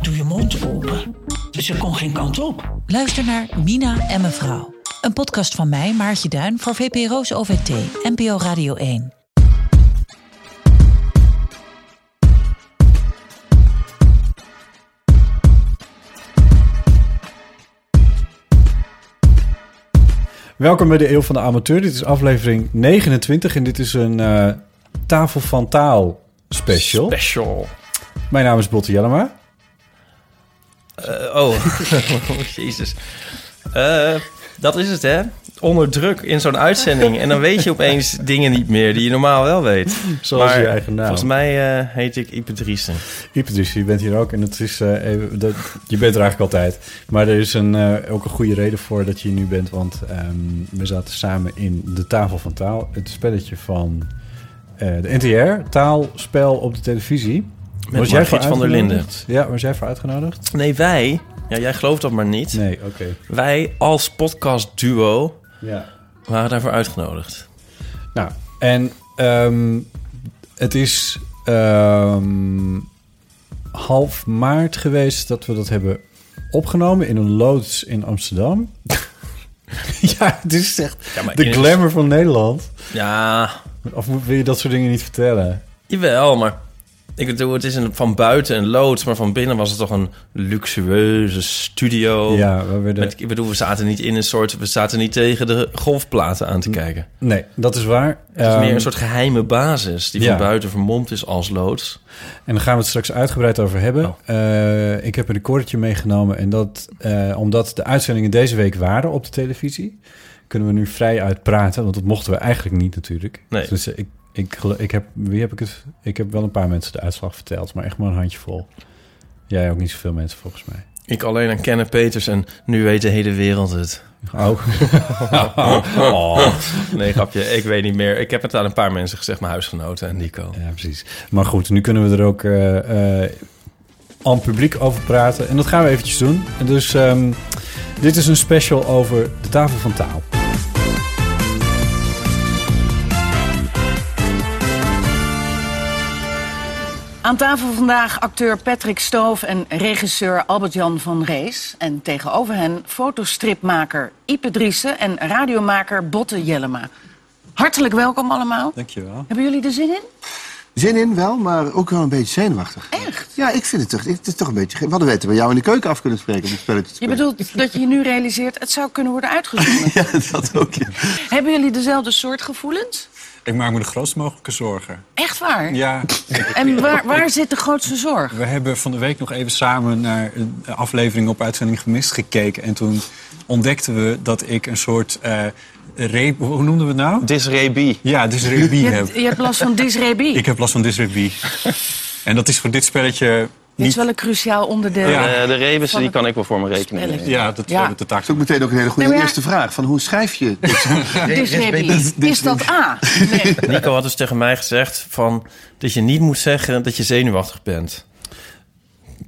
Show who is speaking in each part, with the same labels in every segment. Speaker 1: doe je mond open. Ze kon geen kant op.
Speaker 2: Luister naar Mina en mevrouw. Een podcast van mij, Maartje Duin, voor VPRO's OVT, NPO Radio 1.
Speaker 3: Welkom bij de Eeuw van de Amateur. Dit is aflevering 29 en dit is een eh, tafel van taal special.
Speaker 4: Special.
Speaker 3: Mijn naam is Botte Jellema.
Speaker 4: Eh, oh. Oh, jezus. Eh, dat is het, hè? Onder druk in zo'n uitzending. En dan weet je opeens dingen niet meer die je normaal wel weet.
Speaker 3: Zoals
Speaker 4: Maar
Speaker 3: je eigen naam.
Speaker 4: Volgens mij eh, heet ik Ipe Driessen.
Speaker 3: Iep, dus je bent hier ook en dat is, eh, even, dat, je bent er eigenlijk altijd. Maar er is een, eh, ook een goede reden voor dat je hier nu bent, want ehm, we zaten samen in de tafel van taal. Het spelletje van eh, de NTR, taalspel op de televisie.
Speaker 4: Met
Speaker 3: was jij voor
Speaker 4: Margriet van der
Speaker 3: uitgenodigd? Ja, was jij voor uitgenodigd?
Speaker 4: Nee, wij... Ja, jij gelooft dat maar niet.
Speaker 3: Nee, oké.
Speaker 4: Wij als podcastduo
Speaker 3: Ja.
Speaker 4: waren daarvoor uitgenodigd.
Speaker 3: Nou, en ehm, het is ehm, half maart geweest dat we dat hebben opgenomen in een loods in Amsterdam. ja, het is echt
Speaker 4: Ja, maar
Speaker 3: de
Speaker 4: in-
Speaker 3: glamour van Nederland.
Speaker 4: Ja,
Speaker 3: Of moet- wil je dat soort dingen niet vertellen?
Speaker 4: jawel, maar... Ik bedoel, het is een, van buiten een loods, maar van binnen was het toch een luxueuze studio.
Speaker 3: ja, we werden...
Speaker 4: Oh. Met- ik bedoel, we zaten niet in een soort... We zaten niet tegen de golfplaten aan te kijken.
Speaker 3: Nee, dat is waar.
Speaker 4: Het is
Speaker 3: Ehm,
Speaker 4: meer een soort geheime basis... die
Speaker 3: ja.
Speaker 4: van buiten vermomd is als loods.
Speaker 3: En daar gaan we het straks uitgebreid over hebben.
Speaker 4: Oh.
Speaker 3: Eh, ik heb een recordje meegenomen. En dat, eh, omdat de uitzendingen deze week waren op de televisie... kunnen we nu vrij uitpraten. Want dat mochten we eigenlijk niet natuurlijk.
Speaker 4: Nee.
Speaker 3: Dus eh, ik, ik, gelo- ik, heb, wie heb ik, het, ik heb wel een paar mensen de uitslag verteld. Maar echt maar een handjevol. Jij ook niet zoveel mensen volgens mij.
Speaker 4: Ik alleen aan Kenneth Peters en nu weet de hele wereld het.
Speaker 3: Oh. Oh.
Speaker 4: Nee, grapje, ik weet niet meer. Ik heb het aan een paar mensen gezegd, mijn huisgenoten en Nico.
Speaker 3: Ja, precies. Maar goed, nu kunnen we er ook eh, eh, aan publiek over praten. En dat gaan we eventjes doen. En dus ehm, dit is een special over de tafel van taal.
Speaker 5: Aan tafel vandaag acteur Patrick Stoof en regisseur Albert-Jan van Rees. En tegenover hen fotostripmaker Ipe Driessen en radiomaker Botte Jellema. Hartelijk welkom allemaal.
Speaker 3: Dankjewel.
Speaker 5: Hebben jullie er zin in?
Speaker 6: Zin in wel, maar ook wel een beetje zenuwachtig.
Speaker 5: Echt?
Speaker 6: Ja, ik vind het toch, het is toch een beetje... ge- We hadden weten bij jou in de keuken af kunnen spreken om een spelletje te
Speaker 5: Je
Speaker 6: spelen.
Speaker 5: bedoelt dat je je nu realiseert, het zou kunnen worden uitgezonden.
Speaker 6: Ja, dat ook. ja.
Speaker 5: Hebben jullie dezelfde soort gevoelens?
Speaker 7: Ik maak me de grootst mogelijke zorgen.
Speaker 5: Echt waar?
Speaker 7: Ja,
Speaker 5: En waar, waar zit de grootste zorg?
Speaker 7: we hebben van de week nog even samen naar een aflevering op Uitzending Gemist gekeken. En toen ontdekten we dat ik een soort eh re- Hoe noemden we het nou?
Speaker 4: Disrebi.
Speaker 7: Ja, dysrebie
Speaker 5: Je
Speaker 7: heb.
Speaker 5: hebt, je hebt last van dysrebie.
Speaker 7: Ik heb last van dysrebie. En dat is voor dit spelletje
Speaker 5: Dit is
Speaker 7: niet...
Speaker 5: wel een cruciaal onderdeel.
Speaker 7: Ja.
Speaker 4: de rebussen,
Speaker 5: die
Speaker 4: kan ik wel voor me rekenen.
Speaker 5: Spelletje.
Speaker 7: Ja, dat
Speaker 5: Ja.
Speaker 7: hebben we de taak.
Speaker 6: Dat is ook meteen ook een hele goede
Speaker 5: Nee, maar Nou ja-
Speaker 6: eerste vraag. Van hoe schrijf je dit?
Speaker 5: Dysrebie. Is dat A? Nee.
Speaker 4: Nico had dus tegen mij gezegd van, dat je niet moet zeggen dat je zenuwachtig bent.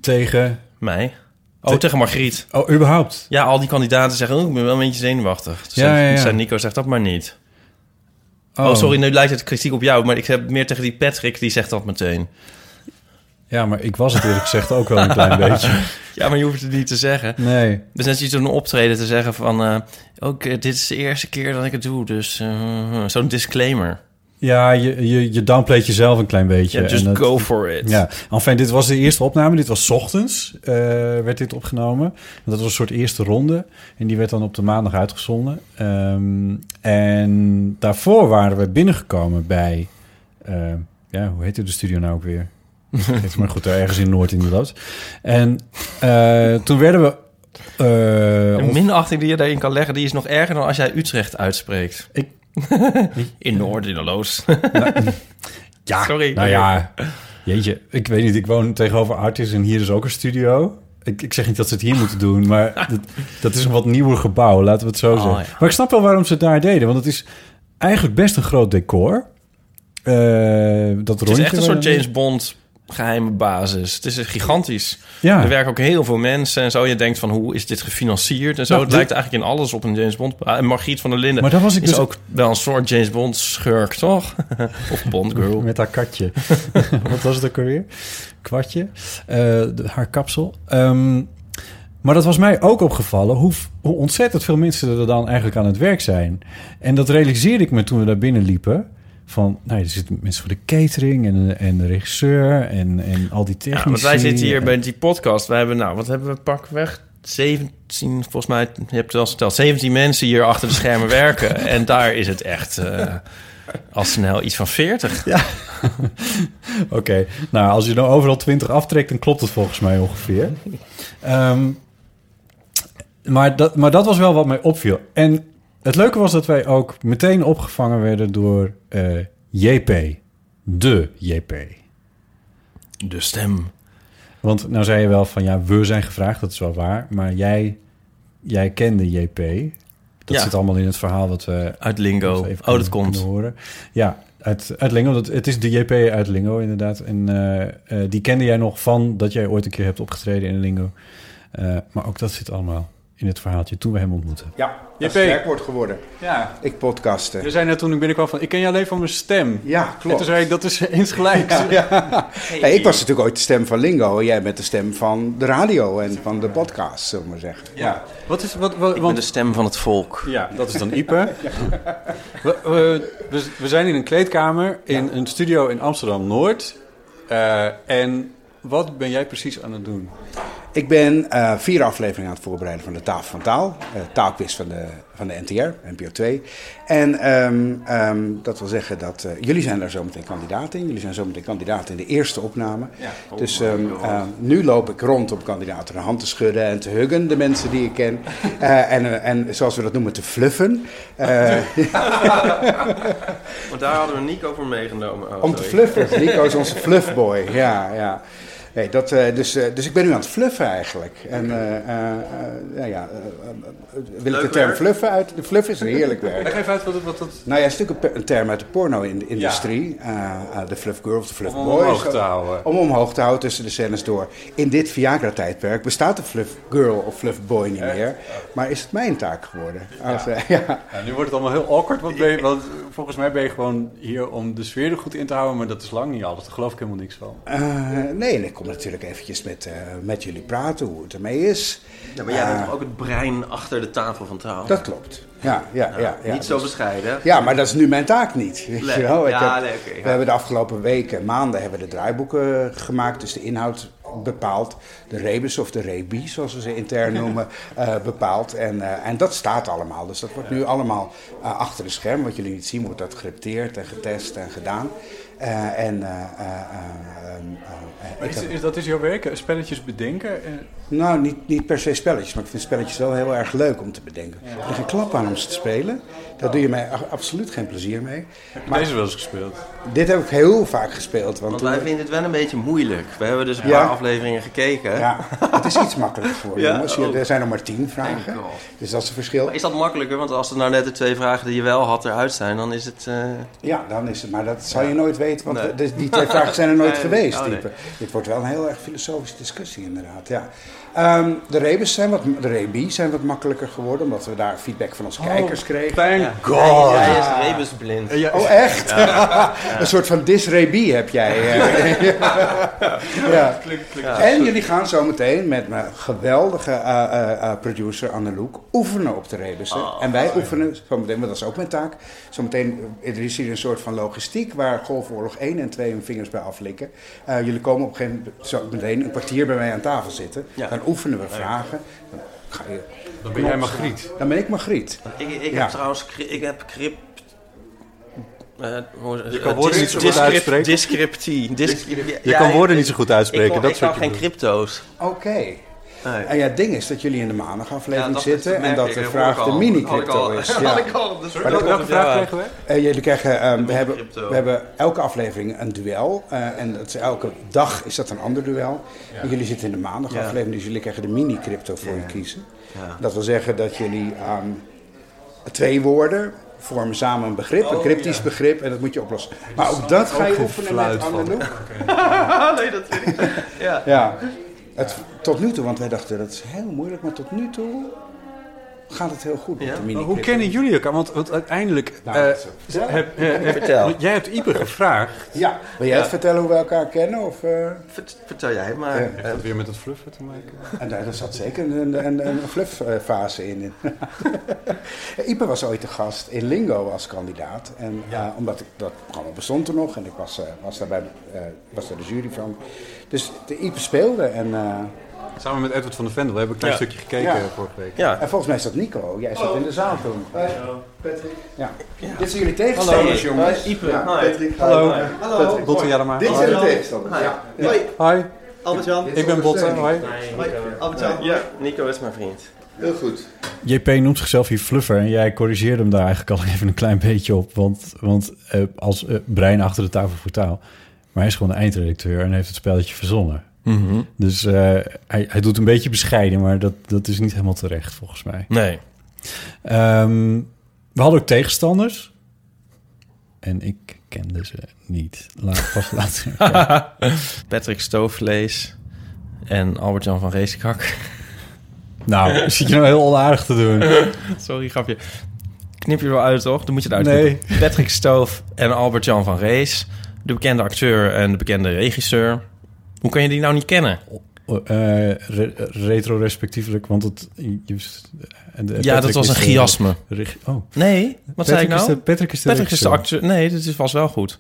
Speaker 3: Tegen...
Speaker 4: Mij. Oh, tegen Margriet.
Speaker 3: Oh, überhaupt.
Speaker 4: Ja, al die kandidaten zeggen, oh, ik ben wel een beetje zenuwachtig. Dus
Speaker 3: Ja, ja, ja.
Speaker 4: zei Nico, zeg dat maar niet. Oh. sorry, nu lijkt het kritiek op jou, maar ik heb meer tegen die Patrick, die zegt dat meteen.
Speaker 3: Ja, maar ik was het eerlijk gezegd ook wel een klein beetje.
Speaker 4: Ja, maar je hoeft het niet te zeggen.
Speaker 3: Nee.
Speaker 4: Dus net zoiets als een optreden te zeggen van, eh, ook eh, dit is de eerste keer dat ik het doe, dus eh, zo'n disclaimer.
Speaker 3: Ja, je, je, je downplayt jezelf een klein beetje.
Speaker 4: Ja, just
Speaker 3: En dat-
Speaker 4: go for it.
Speaker 3: Ja, enfin, dit was de eerste opname. Dit was 's ochtends, eh, werd dit opgenomen. Dat was een soort eerste ronde. En die werd dan op de maandag uitgezonden. Ehm, en daarvoor waren we binnengekomen bij... eh, ja, hoe heette de studio nou ook weer? Heet maar goed, daar ergens in Noord in de Loods. En eh, toen werden we... eh,
Speaker 4: De
Speaker 3: ont-
Speaker 4: minachting die je daarin kan leggen, die is nog erger dan als jij Utrecht uitspreekt.
Speaker 3: Ik-
Speaker 4: in Noord, in de Loos.
Speaker 3: ja,
Speaker 4: Sorry.
Speaker 3: Nou ja, jeetje. Ik weet niet, ik woon tegenover Artis en hier is ook een studio. Eh, Ik, ik zeg niet dat ze het hier moeten doen, maar dat, dat is een wat nieuwer gebouw, laten we het zo
Speaker 4: Oh,
Speaker 3: zeggen.
Speaker 4: ja.
Speaker 3: Maar ik snap wel waarom ze het daar deden, want het is eigenlijk best een groot decor. Eh, dat
Speaker 4: Het is echt een soort
Speaker 3: waarin-
Speaker 4: James Bond geheime basis. Het is gigantisch.
Speaker 3: Ja.
Speaker 4: Er werken ook heel veel mensen en zo. Je denkt van hoe is dit gefinancierd en zo.
Speaker 3: Nou,
Speaker 4: het
Speaker 3: dit-
Speaker 4: lijkt eigenlijk in alles op een James Bond. Ah, En Margriet van der Linden
Speaker 3: Maar dat was ik
Speaker 4: is
Speaker 3: dus-
Speaker 4: ook wel een soort James Bond schurk, toch? of Bond girl.
Speaker 3: Met haar katje. Wat was het ook alweer? Kwartje. Eh, de- haar kapsel. Ehm, maar dat was mij ook opgevallen hoe, f- hoe ontzettend veel mensen er dan eigenlijk aan het werk zijn. En dat realiseerde ik me toen we daar binnen liepen. Van, nou, er zitten mensen voor de catering en, en de regisseur en, en al die
Speaker 4: Ja,
Speaker 3: technici.
Speaker 4: want wij zitten hier
Speaker 3: En-
Speaker 4: bij die podcast. Wij hebben, nou, wat hebben we pakweg? 17, volgens mij, je hebt het al eens verteld, 17 mensen hier achter de schermen werken. En daar is het echt eh, al snel iets van 40.
Speaker 3: Oké, nou als je nou overal 20 aftrekt, dan klopt het volgens mij ongeveer. Ehm, maar, dat, maar dat was wel wat mij opviel. En het leuke was dat wij ook meteen opgevangen werden door eh, JP. De JP.
Speaker 4: De stem.
Speaker 3: Want nou zei je wel van ja, we zijn gevraagd, dat is wel waar. Maar jij, jij kende JP. Dat
Speaker 4: Ja.
Speaker 3: zit allemaal in het verhaal wat we
Speaker 4: Uit Lingo.
Speaker 3: Even
Speaker 4: Oh,
Speaker 3: kunnen-
Speaker 4: dat komt.
Speaker 3: kunnen horen. Ja, uit, uit Lingo. Dat, het is de JP uit Lingo, inderdaad. En eh, eh, die kende jij nog van dat jij ooit een keer hebt opgetreden in Lingo. Eh, maar ook dat zit allemaal in het verhaaltje toen we hem ontmoeten.
Speaker 7: Ja,
Speaker 8: Dat is sterk wordt geworden. Dus-
Speaker 7: Ja.
Speaker 8: Ik podcasten.
Speaker 7: Je zei net toen ik binnenkwam van, ik ken je alleen van mijn stem.
Speaker 8: Ja,
Speaker 7: En
Speaker 8: klopt.
Speaker 7: toen zei ik, dat is eens gelijk.
Speaker 8: Hey, ik was natuurlijk ooit de stem van Lingo en jij bent de stem van de radio en van de podcast, zullen we maar zeggen.
Speaker 7: Ja. Wat is, wat, wat,
Speaker 4: Met
Speaker 7: want
Speaker 4: de stem van het volk.
Speaker 7: Ja, dat is dan Ipe. We, we, we- we zijn in een kleedkamer in een studio in Amsterdam-Noord. Eh, en wat ben jij precies aan het doen?
Speaker 8: Ik ben eh, vier afleveringen aan het voorbereiden van de Tafel van Taal. eh taalquiz van de, van de NTR, NPO 2. En ehm, ehm, dat wil zeggen dat eh, jullie zijn daar zometeen kandidaat in. Jullie zijn zometeen kandidaat in de eerste opname. dus ehm, ehm, nu loop ik rond om kandidaten de hand te schudden en te huggen, de mensen die ik ken. Eh, en, eh, en zoals we dat noemen, te fluffen. Eh,
Speaker 4: Want daar hadden we Nico voor meegenomen. Oh,
Speaker 7: Oh,
Speaker 8: Om te fluffen. Nico is onze fluffboy. Ja, ja. Nee, dat, eh, dus, eh, dus ik ben nu aan het fluffen eigenlijk. En eh, eh, eh, nou ja, eh, eh, eh, wil ik de
Speaker 4: Leuk
Speaker 8: term
Speaker 4: werk.
Speaker 8: fluffen uit? De fluff is een heerlijk
Speaker 7: Leg
Speaker 8: werk.
Speaker 7: even uit wat, wat dat...
Speaker 8: Nou ja, het is natuurlijk een pe- een term uit de porno-industrie. Eh, eh, de fluff girl of de fluff
Speaker 7: Om
Speaker 8: boy.
Speaker 7: omhoog te houden.
Speaker 8: Om omhoog te houden tussen de scènes door. In dit Viagra-tijdperk bestaat de fluff girl of fluff boy niet meer. Maar is het mijn taak geworden? Als, eh, ja.
Speaker 7: Ja, nu wordt het allemaal heel awkward, want, ben je- want volgens mij ben je gewoon hier om de sfeer er goed in te houden. Maar dat is lang niet alles, daar geloof ik helemaal niks van.
Speaker 8: Eh, nee, en ik kom natuurlijk eventjes met, eh, met jullie praten hoe het ermee is.
Speaker 4: maar jij bent ook het brein achter de tafel van taal.
Speaker 8: Ah. Dat klopt. Ja, ja, ja. ja,
Speaker 4: Nou,
Speaker 8: Dus-
Speaker 4: Niet zo bescheiden.
Speaker 8: Ja, maar dat is nu mijn taak niet. Weet
Speaker 4: Nee.
Speaker 8: je wel? Ik
Speaker 4: Ja,
Speaker 8: heb-
Speaker 4: nee, oké, ja.
Speaker 8: We hebben de afgelopen weken, maanden, hebben we de draaiboeken gemaakt. Dus de inhoud bepaald. De rebus of de rebi, zoals we ze intern noemen, eh, bepaald. En, eh, en dat staat allemaal. Dus dat wordt nu allemaal eh, achter de scherm. Wat jullie niet zien, wordt dat gerepteerd en getest en gedaan. Eh, en eh, eh, eh, ehm, eh,
Speaker 7: Maar
Speaker 8: ik
Speaker 7: is,
Speaker 8: heb-
Speaker 7: is, dat is jouw werk, eh, spelletjes bedenken? Eh, En,
Speaker 8: nou, niet, niet per se spelletjes, maar ik vind spelletjes wel heel erg leuk om te bedenken. Er is een klap aan om ze te spelen. Daar doe je mij a- absoluut geen plezier mee. Maar
Speaker 7: deze wel eens gespeeld.
Speaker 8: dit heb ik heel vaak gespeeld. Want eh,
Speaker 4: Want
Speaker 8: toen-
Speaker 4: wij vinden het wel een beetje moeilijk. We hebben dus een
Speaker 8: Ja.
Speaker 4: paar afleveringen gekeken.
Speaker 8: ja, het is iets makkelijker voor
Speaker 4: Ja,
Speaker 8: jongens. Je-
Speaker 4: oh.
Speaker 8: Er zijn nog maar tien vragen.
Speaker 4: Thank God.
Speaker 8: Dus dat is het verschil.
Speaker 4: Maar Is dat makkelijker? Want als er nou net de twee vragen die je wel had eruit zijn, dan is het... eh,
Speaker 8: Ja, dan is het. Maar dat zal je nooit weten, want
Speaker 4: Nee.
Speaker 8: de- die twee vragen zijn er nooit
Speaker 4: Nee,
Speaker 8: geweest.
Speaker 4: oh, nee.
Speaker 8: type. Dit wordt wel een heel erg filosofische discussie, inderdaad. Ja. Ehm, de rebus zijn wat, de rebi zijn wat makkelijker geworden, omdat we daar feedback van onze kijkers kregen.
Speaker 7: Thank
Speaker 4: God! Hij is rebusblind.
Speaker 7: Ah. Ja,
Speaker 8: Oh, echt? een soort van disrebie heb jij. eh. ja. En jullie gaan zo meteen met mijn geweldige eh, eh, eh, producer Anneloek oefenen op de rebussen.
Speaker 7: Oh,
Speaker 8: en wij oefenen zo meteen, want dat is ook mijn taak. Zometeen eh, er is hier een soort van logistiek waar Golfoorlog 1 en 2 hun vingers bij aflikken. Eh, jullie komen op een gegeven moment zo meteen een kwartier bij mij aan tafel zitten.
Speaker 4: Ja.
Speaker 8: Dan oefenen we vragen. Dan, ga je,
Speaker 7: Dan ben jij Margriet.
Speaker 8: dan ben ik Margriet.
Speaker 4: Ik, ik
Speaker 8: Ja.
Speaker 4: heb trouwens, cri- ik heb crypt... eh, hoe- eh,
Speaker 7: kan woorden
Speaker 4: dis-
Speaker 7: niet zo goed
Speaker 4: discrypt-
Speaker 7: uitspreken.
Speaker 4: Discryptie. Dis-
Speaker 7: Je
Speaker 4: ja,
Speaker 7: kan
Speaker 4: ik-
Speaker 7: woorden niet zo goed
Speaker 4: Ik
Speaker 7: uitspreken,
Speaker 4: kan,
Speaker 7: dat
Speaker 4: ik
Speaker 7: is wat
Speaker 4: kan
Speaker 7: je
Speaker 4: geen
Speaker 7: bedoelt.
Speaker 4: crypto's.
Speaker 8: Oké. Nee. En ja, het ding is dat jullie in de maandagaflevering
Speaker 4: Ja, dat is-
Speaker 8: zitten
Speaker 4: dat
Speaker 8: en
Speaker 4: merk
Speaker 8: dat
Speaker 4: ik,
Speaker 8: de
Speaker 4: dat
Speaker 8: vraag
Speaker 4: hoor ik
Speaker 8: de
Speaker 4: al.
Speaker 8: mini-crypto
Speaker 4: Had ik al.
Speaker 8: is.
Speaker 4: Had ik al, dus
Speaker 8: Maar dat-
Speaker 4: welke vraag krijgen we?
Speaker 8: Eh, jullie krijgen, ehm, we, hebben,
Speaker 4: mini-crypto.
Speaker 8: we hebben elke aflevering een duel. eh, en dat is elke dag is dat een ander duel. En jullie zitten in de maandagaflevering, dus jullie krijgen de mini-crypto voor je kiezen.
Speaker 4: Ja.
Speaker 8: Dat wil zeggen dat jullie aan twee woorden vormen samen een begrip,
Speaker 4: Oh,
Speaker 8: een cryptisch begrip, en dat moet je oplossen. Maar ook dat ga je oefenen met Anneloek.
Speaker 9: Ah,
Speaker 4: nee, dat weet ik. Ja.
Speaker 8: Ja. Het, tot nu toe, want wij dachten dat is heel moeilijk, maar tot nu toe gaat het heel goed. met de
Speaker 7: Maar
Speaker 8: mini-clip.
Speaker 7: hoe kennen jullie elkaar? Want, want uiteindelijk...
Speaker 8: Nou,
Speaker 7: eh,
Speaker 8: dat is-
Speaker 7: heb, eh, heb-
Speaker 4: Vertel.
Speaker 7: Jij hebt Ipe gevraagd...
Speaker 8: Ja, wil jij het
Speaker 4: Ja.
Speaker 8: vertellen hoe we elkaar kennen? Of, eh?
Speaker 4: Vert- Vertel jij maar.
Speaker 8: Ja.
Speaker 4: Eh,
Speaker 7: Weer met het fluffen te maken.
Speaker 8: En daar daar zat zeker een, een, een fluff-fase in. Ipe was ooit de gast in Lingo als kandidaat. En eh, omdat ik, dat programma bestond er nog en ik was, eh, was, daar, bij, eh, was daar de jury van. Dus de Ipe speelde en, eh,
Speaker 7: Samen met Edward van der Vendel. We hebben een klein
Speaker 4: Ja.
Speaker 7: stukje gekeken
Speaker 8: Ja.
Speaker 7: eh, vorige week.
Speaker 4: ja.
Speaker 8: en volgens mij zat Nico. Jij zat in de zaal toen. Ja. Dit zijn jullie tegenstanders,
Speaker 4: Hey,
Speaker 8: jongens.
Speaker 4: eh, Ipe.
Speaker 8: Ja,
Speaker 4: Hi.
Speaker 8: Patrick.
Speaker 7: Hallo.
Speaker 8: Hi.
Speaker 4: Hallo.
Speaker 7: Botte Jellema.
Speaker 8: Dit zijn de tegenstanders. Ja.
Speaker 4: Hoi,
Speaker 7: Hoi,
Speaker 4: Albert-Jan.
Speaker 7: ik ben Botte. Hoi.
Speaker 4: Albert-Jan. Ja, Nico is mijn vriend.
Speaker 6: Heel goed.
Speaker 3: JP noemt zichzelf hier Fluffer en jij corrigeerde hem daar eigenlijk al even een klein beetje op. Want, want eh, als eh, brein achter de tafel voor taal. Maar hij is gewoon de eindredacteur en heeft het spelletje verzonnen. Dus eh, hij, hij doet een beetje bescheiden, maar dat, dat is niet helemaal terecht volgens mij.
Speaker 4: Nee.
Speaker 3: Ehm, we hadden ook tegenstanders. En ik kende ze niet. Laat pas laten.
Speaker 4: Patrick Stoofvlees en Albert-Jan van Reeskak.
Speaker 3: nou, zit je nou heel onaardig te doen.
Speaker 4: Sorry, grapje. Knip je er wel uit, toch? Dan moet je het
Speaker 3: Nee.
Speaker 4: uitknippen. Patrick Stoof en Albert-Jan van Rees. De bekende acteur en de bekende regisseur. Hoe kan je die nou niet kennen?
Speaker 3: Eh, re- retro respectievelijk, want het... je- je- eh,
Speaker 4: ja, dat
Speaker 3: Patrick
Speaker 4: was
Speaker 3: is
Speaker 4: een
Speaker 3: de-
Speaker 4: chiasme.
Speaker 3: reg- oh.
Speaker 4: Nee, wat zei
Speaker 3: Patrick
Speaker 4: ik nou?
Speaker 3: Is de, Patrick is de
Speaker 4: Patrick is de
Speaker 3: regisseur.
Speaker 4: acteur. Nee, dat is was wel goed.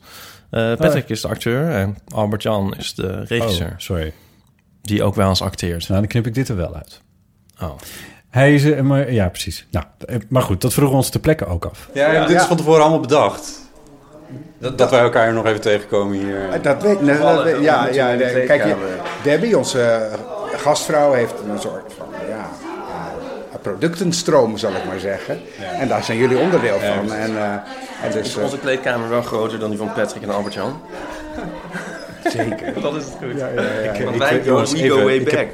Speaker 4: Eh, Patrick is de acteur en Albert-Jan is de regisseur.
Speaker 3: Oh, sorry.
Speaker 4: Die ook wel eens acteert.
Speaker 3: Nou, dan knip ik dit er wel uit.
Speaker 4: Oh.
Speaker 3: Hij is... eh, maar, ja, precies. Nou, eh, maar goed, dat vroegen we ons te plekken ook af.
Speaker 7: Ja, dit is van tevoren allemaal bedacht. Dat, wij elkaar nog even tegenkomen hier.
Speaker 8: Eh, Dat weet nee, dat weet- Ja, ja,
Speaker 6: in de
Speaker 8: nee, kijk,
Speaker 6: kleedkamer.
Speaker 8: je- Debbie, onze eh, gastvrouw, heeft een soort van ja, eh, productenstroom, zal ik maar zeggen. En daar zijn jullie onderdeel van. En, eh, en dus, eh,
Speaker 4: Onze kleedkamer wel groter dan die van Patrick en Albert-Jan. Zeker. Dat is het goed. Want wij go, we go way back.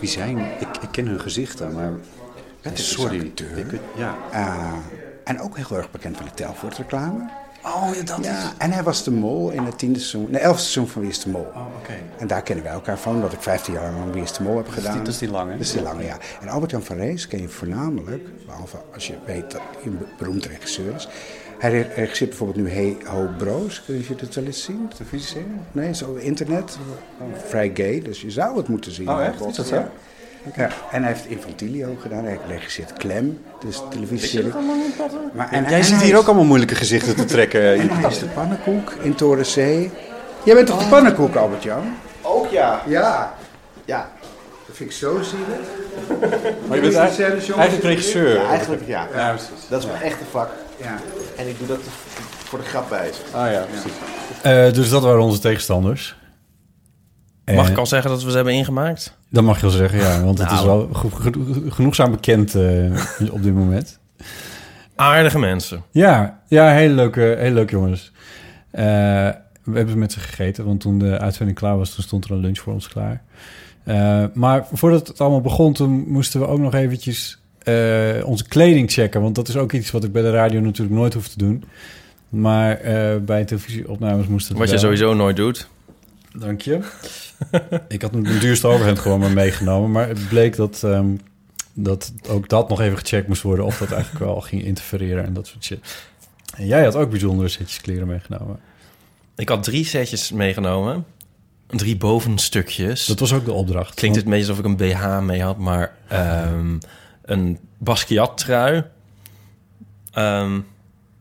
Speaker 7: wie zijn? Ik, ik ken hun gezichten, maar...
Speaker 8: het is
Speaker 7: sorry.
Speaker 8: een acteur.
Speaker 7: Ik- ja.
Speaker 8: Ah, en ook heel erg bekend van de Telvoort-reclame. Oh, ja, dat ja, En hij was de mol in het tiende seizoen, nee, elfde seizoen van Wie is de Mol. Oh,
Speaker 7: oké.
Speaker 8: En daar kennen wij elkaar van, omdat ik 15 jaar lang Wie is de Mol heb gedaan.
Speaker 7: dat is die lange, hè?
Speaker 8: Dat is die lange, ja. En Albert-Jan van Rees ken je voornamelijk, behalve als je weet dat hij een be- beroemd regisseur is. Hij re- regisseert bijvoorbeeld nu Hey Ho Bro's. Kun je dat wel eens zien? Televisie? Nee, zo op internet. Vrij gay, dus je zou het moeten zien.
Speaker 7: Oh, echt? Is dat zo?
Speaker 8: Ja. Ja, en hij heeft Infantilio gedaan. Hij regisseert Klem, dus televisieserie. Maar en,
Speaker 7: Jij
Speaker 8: en
Speaker 7: zit
Speaker 8: hij
Speaker 7: hier
Speaker 8: is-
Speaker 7: ook allemaal moeilijke gezichten te trekken.
Speaker 8: En hij is de pannenkoek in Toren C. Jij bent toch de pannenkoek, Albert-Jan?
Speaker 6: Ook ja.
Speaker 8: Ja. Ja. Dat vind ik zo zielig.
Speaker 7: Maar je bent eigenlijk, eigenlijk regisseur.
Speaker 6: Ja, eigenlijk ja.
Speaker 7: Ja, precies.
Speaker 6: Dat is mijn echte vak.
Speaker 8: Ja.
Speaker 6: En ik doe dat voor de grap bij.
Speaker 7: Ah ja, precies.
Speaker 3: Eh, dus dat waren onze tegenstanders. En
Speaker 4: Mag ik al zeggen dat we ze hebben ingemaakt?
Speaker 3: Dat mag je wel zeggen, ja. Want het
Speaker 4: Nou.
Speaker 3: is wel geno- geno- genoegzaam bekend eh, op dit moment.
Speaker 4: Aardige mensen.
Speaker 3: Ja, ja heel, leuk, eh, heel leuk jongens. Eh, we hebben met ze gegeten, want toen de uitzending klaar was, toen stond er een lunch voor ons klaar. Eh, maar voordat het allemaal begon, toen moesten we ook nog eventjes eh, onze kleding checken. Want dat is ook iets wat ik bij de radio natuurlijk nooit hoef te doen. Maar eh, bij televisieopnames moest het
Speaker 4: Wat je
Speaker 3: wel.
Speaker 4: sowieso nooit doet.
Speaker 3: Dank je. ik had mijn duurste overhemd gewoon maar meegenomen. Maar het bleek dat, ehm, dat ook dat nog even gecheckt moest worden... of dat eigenlijk wel ging interfereren en dat soort shit. En jij had ook bijzondere setjes kleren meegenomen.
Speaker 4: Ik had drie setjes meegenomen. Drie bovenstukjes.
Speaker 3: Dat was ook de opdracht.
Speaker 4: Klinkt het een beetje alsof ik een BH mee had, maar ehm, een Basquiat trui. Ehm,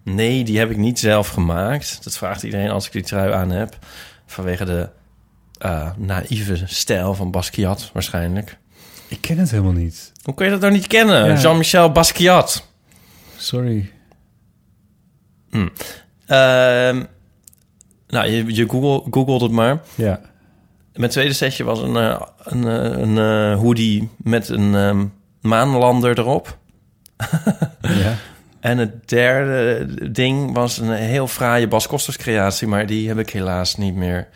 Speaker 4: nee, die heb ik niet zelf gemaakt. Dat vraagt iedereen als ik die trui aan heb. Vanwege de eh, naïeve stijl van Basquiat waarschijnlijk.
Speaker 3: Ik ken het helemaal niet.
Speaker 4: Hoe kun je dat nou niet kennen?
Speaker 3: Ja.
Speaker 4: Jean-Michel Basquiat.
Speaker 3: Sorry.
Speaker 4: Ehm, nou, je, je Google, googelt het maar.
Speaker 3: Ja.
Speaker 4: Mijn tweede setje was een, eh, een, eh, een, eh, hoodie met een ehm, maanlander erop. En het derde ding was een heel fraaie Bas Kosters creatie, maar die heb ik helaas niet meer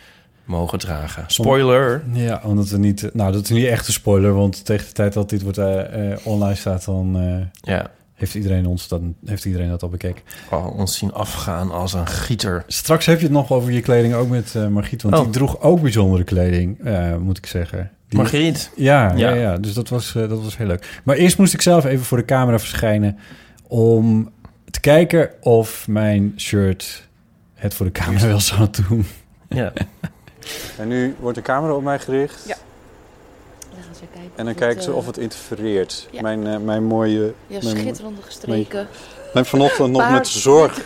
Speaker 4: mogen dragen. Spoiler.
Speaker 3: Ja, omdat we niet... Nou, dat is niet echt een spoiler, want tegen de tijd dat dit wordt, eh, eh, online staat, dan eh,
Speaker 4: Ja.
Speaker 3: heeft, iedereen ons dan, heeft iedereen dat al bekeken.
Speaker 4: Al ons zien afgaan als een gieter.
Speaker 3: Straks heb je het nog over je kleding, ook met eh Margriet, want
Speaker 4: Oh.
Speaker 3: die droeg ook bijzondere kleding, eh, moet ik zeggen. Die,
Speaker 4: Margriet?
Speaker 3: Ja, ja.
Speaker 4: Ja.
Speaker 3: ja, dus dat was, eh, dat was heel leuk. Maar eerst moest ik zelf even voor de camera verschijnen om te kijken of mijn shirt het voor de camera wel zou doen.
Speaker 4: Ja.
Speaker 7: En nu wordt de camera op mij gericht.
Speaker 10: Ja.
Speaker 7: En dan kijken ze of het interfereert. Mijn, eh, mijn mooie...
Speaker 10: eh, Ja,
Speaker 7: mijn,
Speaker 10: schitterende gestreken.
Speaker 7: Mijn, mijn vanochtend nog met
Speaker 10: Paard.
Speaker 7: zorg.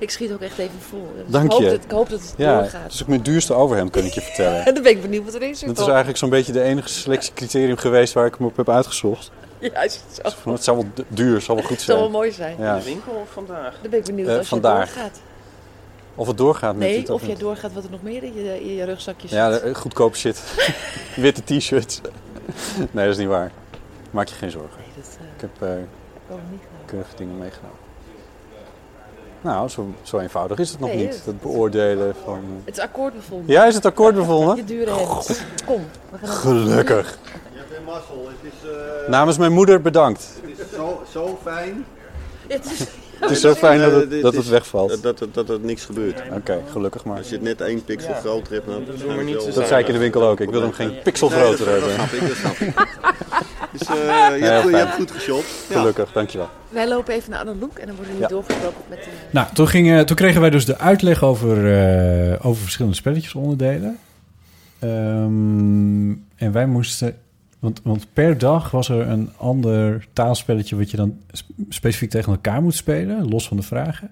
Speaker 10: Ik schiet ook echt even vol. Dus
Speaker 7: Dank
Speaker 10: ik hoop
Speaker 7: je.
Speaker 10: Dat, ik hoop dat het
Speaker 7: ja,
Speaker 10: doorgaat.
Speaker 7: Het is ook mijn duurste overhemd, kan ik je vertellen.
Speaker 10: En dan ben ik benieuwd wat erin zit.
Speaker 7: Dat is
Speaker 10: dan.
Speaker 7: eigenlijk zo'n beetje de enige selectiecriterium geweest waar ik hem op heb uitgezocht.
Speaker 10: Ja, is het zo.
Speaker 7: Van, Het zou wel du- duur, het zou wel goed
Speaker 10: Het zal
Speaker 7: zijn.
Speaker 10: wel mooi zijn.
Speaker 7: Ja.
Speaker 4: winkel vandaag.
Speaker 10: Dan ben ik benieuwd
Speaker 7: Eh,
Speaker 10: als
Speaker 7: vandaag.
Speaker 10: je doorgaat.
Speaker 7: Of het doorgaat met dit
Speaker 10: Nee,
Speaker 7: of
Speaker 10: of jij
Speaker 7: niet.
Speaker 10: doorgaat wat er nog meer in je, in je rugzakje zit.
Speaker 7: Ja, de- goedkoop shit. Witte t-shirts. nee, dat is niet waar. Maak je geen zorgen. Ik heb eh, keurige dingen meegenomen. Nou, zo, zo eenvoudig is het nog
Speaker 10: Nee,
Speaker 7: niet.
Speaker 10: het-
Speaker 7: Het beoordelen van...
Speaker 10: Het is akkoord bevonden.
Speaker 7: Ja, is het akkoord bevonden?
Speaker 10: Je dure hemd. Kom. We gaan
Speaker 7: Gelukkig.
Speaker 11: Je hebt een mazzel. Het is, eh,
Speaker 7: Namens mijn moeder bedankt.
Speaker 11: het is zo, zo fijn. Eh,
Speaker 10: Het is,
Speaker 7: Het is zo fijn dat het- dat het wegvalt.
Speaker 11: Dat, dat, dat, er niks gebeurt. Oké,
Speaker 7: gelukkig maar.
Speaker 11: eh, Als je het net één pixel groter hebt, dan doen
Speaker 7: niet te Dat zei ik in de winkel ook. Ik wil hem geen pixel groter
Speaker 11: dat,
Speaker 7: hebben.
Speaker 11: Dat snap ik, dat snap ik. Dus eh,
Speaker 7: Nee,
Speaker 11: je,
Speaker 7: heel
Speaker 11: hebt, goed- je
Speaker 7: fijn.
Speaker 11: hebt goed geshopt. Ja.
Speaker 7: Gelukkig, dankjewel.
Speaker 10: Wij lopen even naar Anneloek en dan worden we
Speaker 7: Ja.
Speaker 10: doorgebroken met de...
Speaker 3: Nou, toen, gingen, toen kregen wij dus de uitleg over, eh, over verschillende spelletjesonderdelen. Ehm, en wij moesten... Want, want per dag was er een ander taalspelletje... wat je dan sp- specifiek tegen elkaar moet spelen, los van de vragen.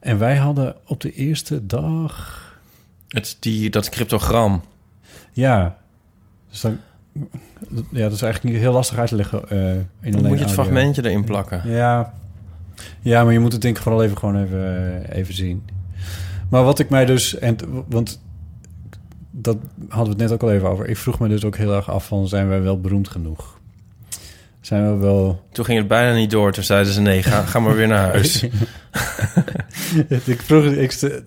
Speaker 3: En wij hadden op de eerste dag...
Speaker 4: Het, die, dat cryptogram.
Speaker 3: Ja, dus dan... Ja, dat is eigenlijk niet heel lastig uit te leggen eh, in alleen
Speaker 4: Dan moet je het
Speaker 3: audio.
Speaker 4: fragmentje erin plakken.
Speaker 3: Ja. ja, maar je moet het denk ik vooral even, gewoon even, eh, even zien. Maar wat ik mij dus... En, want dat hadden we het net ook al even over. Ik vroeg me dus ook heel erg af van... zijn wij wel beroemd genoeg? Zijn we wel...
Speaker 4: Toen ging het bijna niet door. Toen zeiden ze nee, ga, ga maar weer naar
Speaker 3: Oh.
Speaker 4: huis.
Speaker 3: ik vroeg... Ik, st-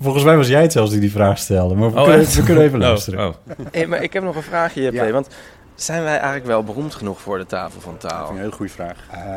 Speaker 3: volgens mij was jij het zelfs die die vraag stelde. Maar we,
Speaker 4: Oh,
Speaker 3: kunnen,
Speaker 4: echt?
Speaker 3: we kunnen even
Speaker 4: Oh,
Speaker 3: luisteren.
Speaker 4: oh.
Speaker 9: Hey, maar ik heb nog een vraagje, JP. Want zijn wij eigenlijk wel beroemd genoeg voor de tafel van taal? Dat is een
Speaker 7: hele goede vraag.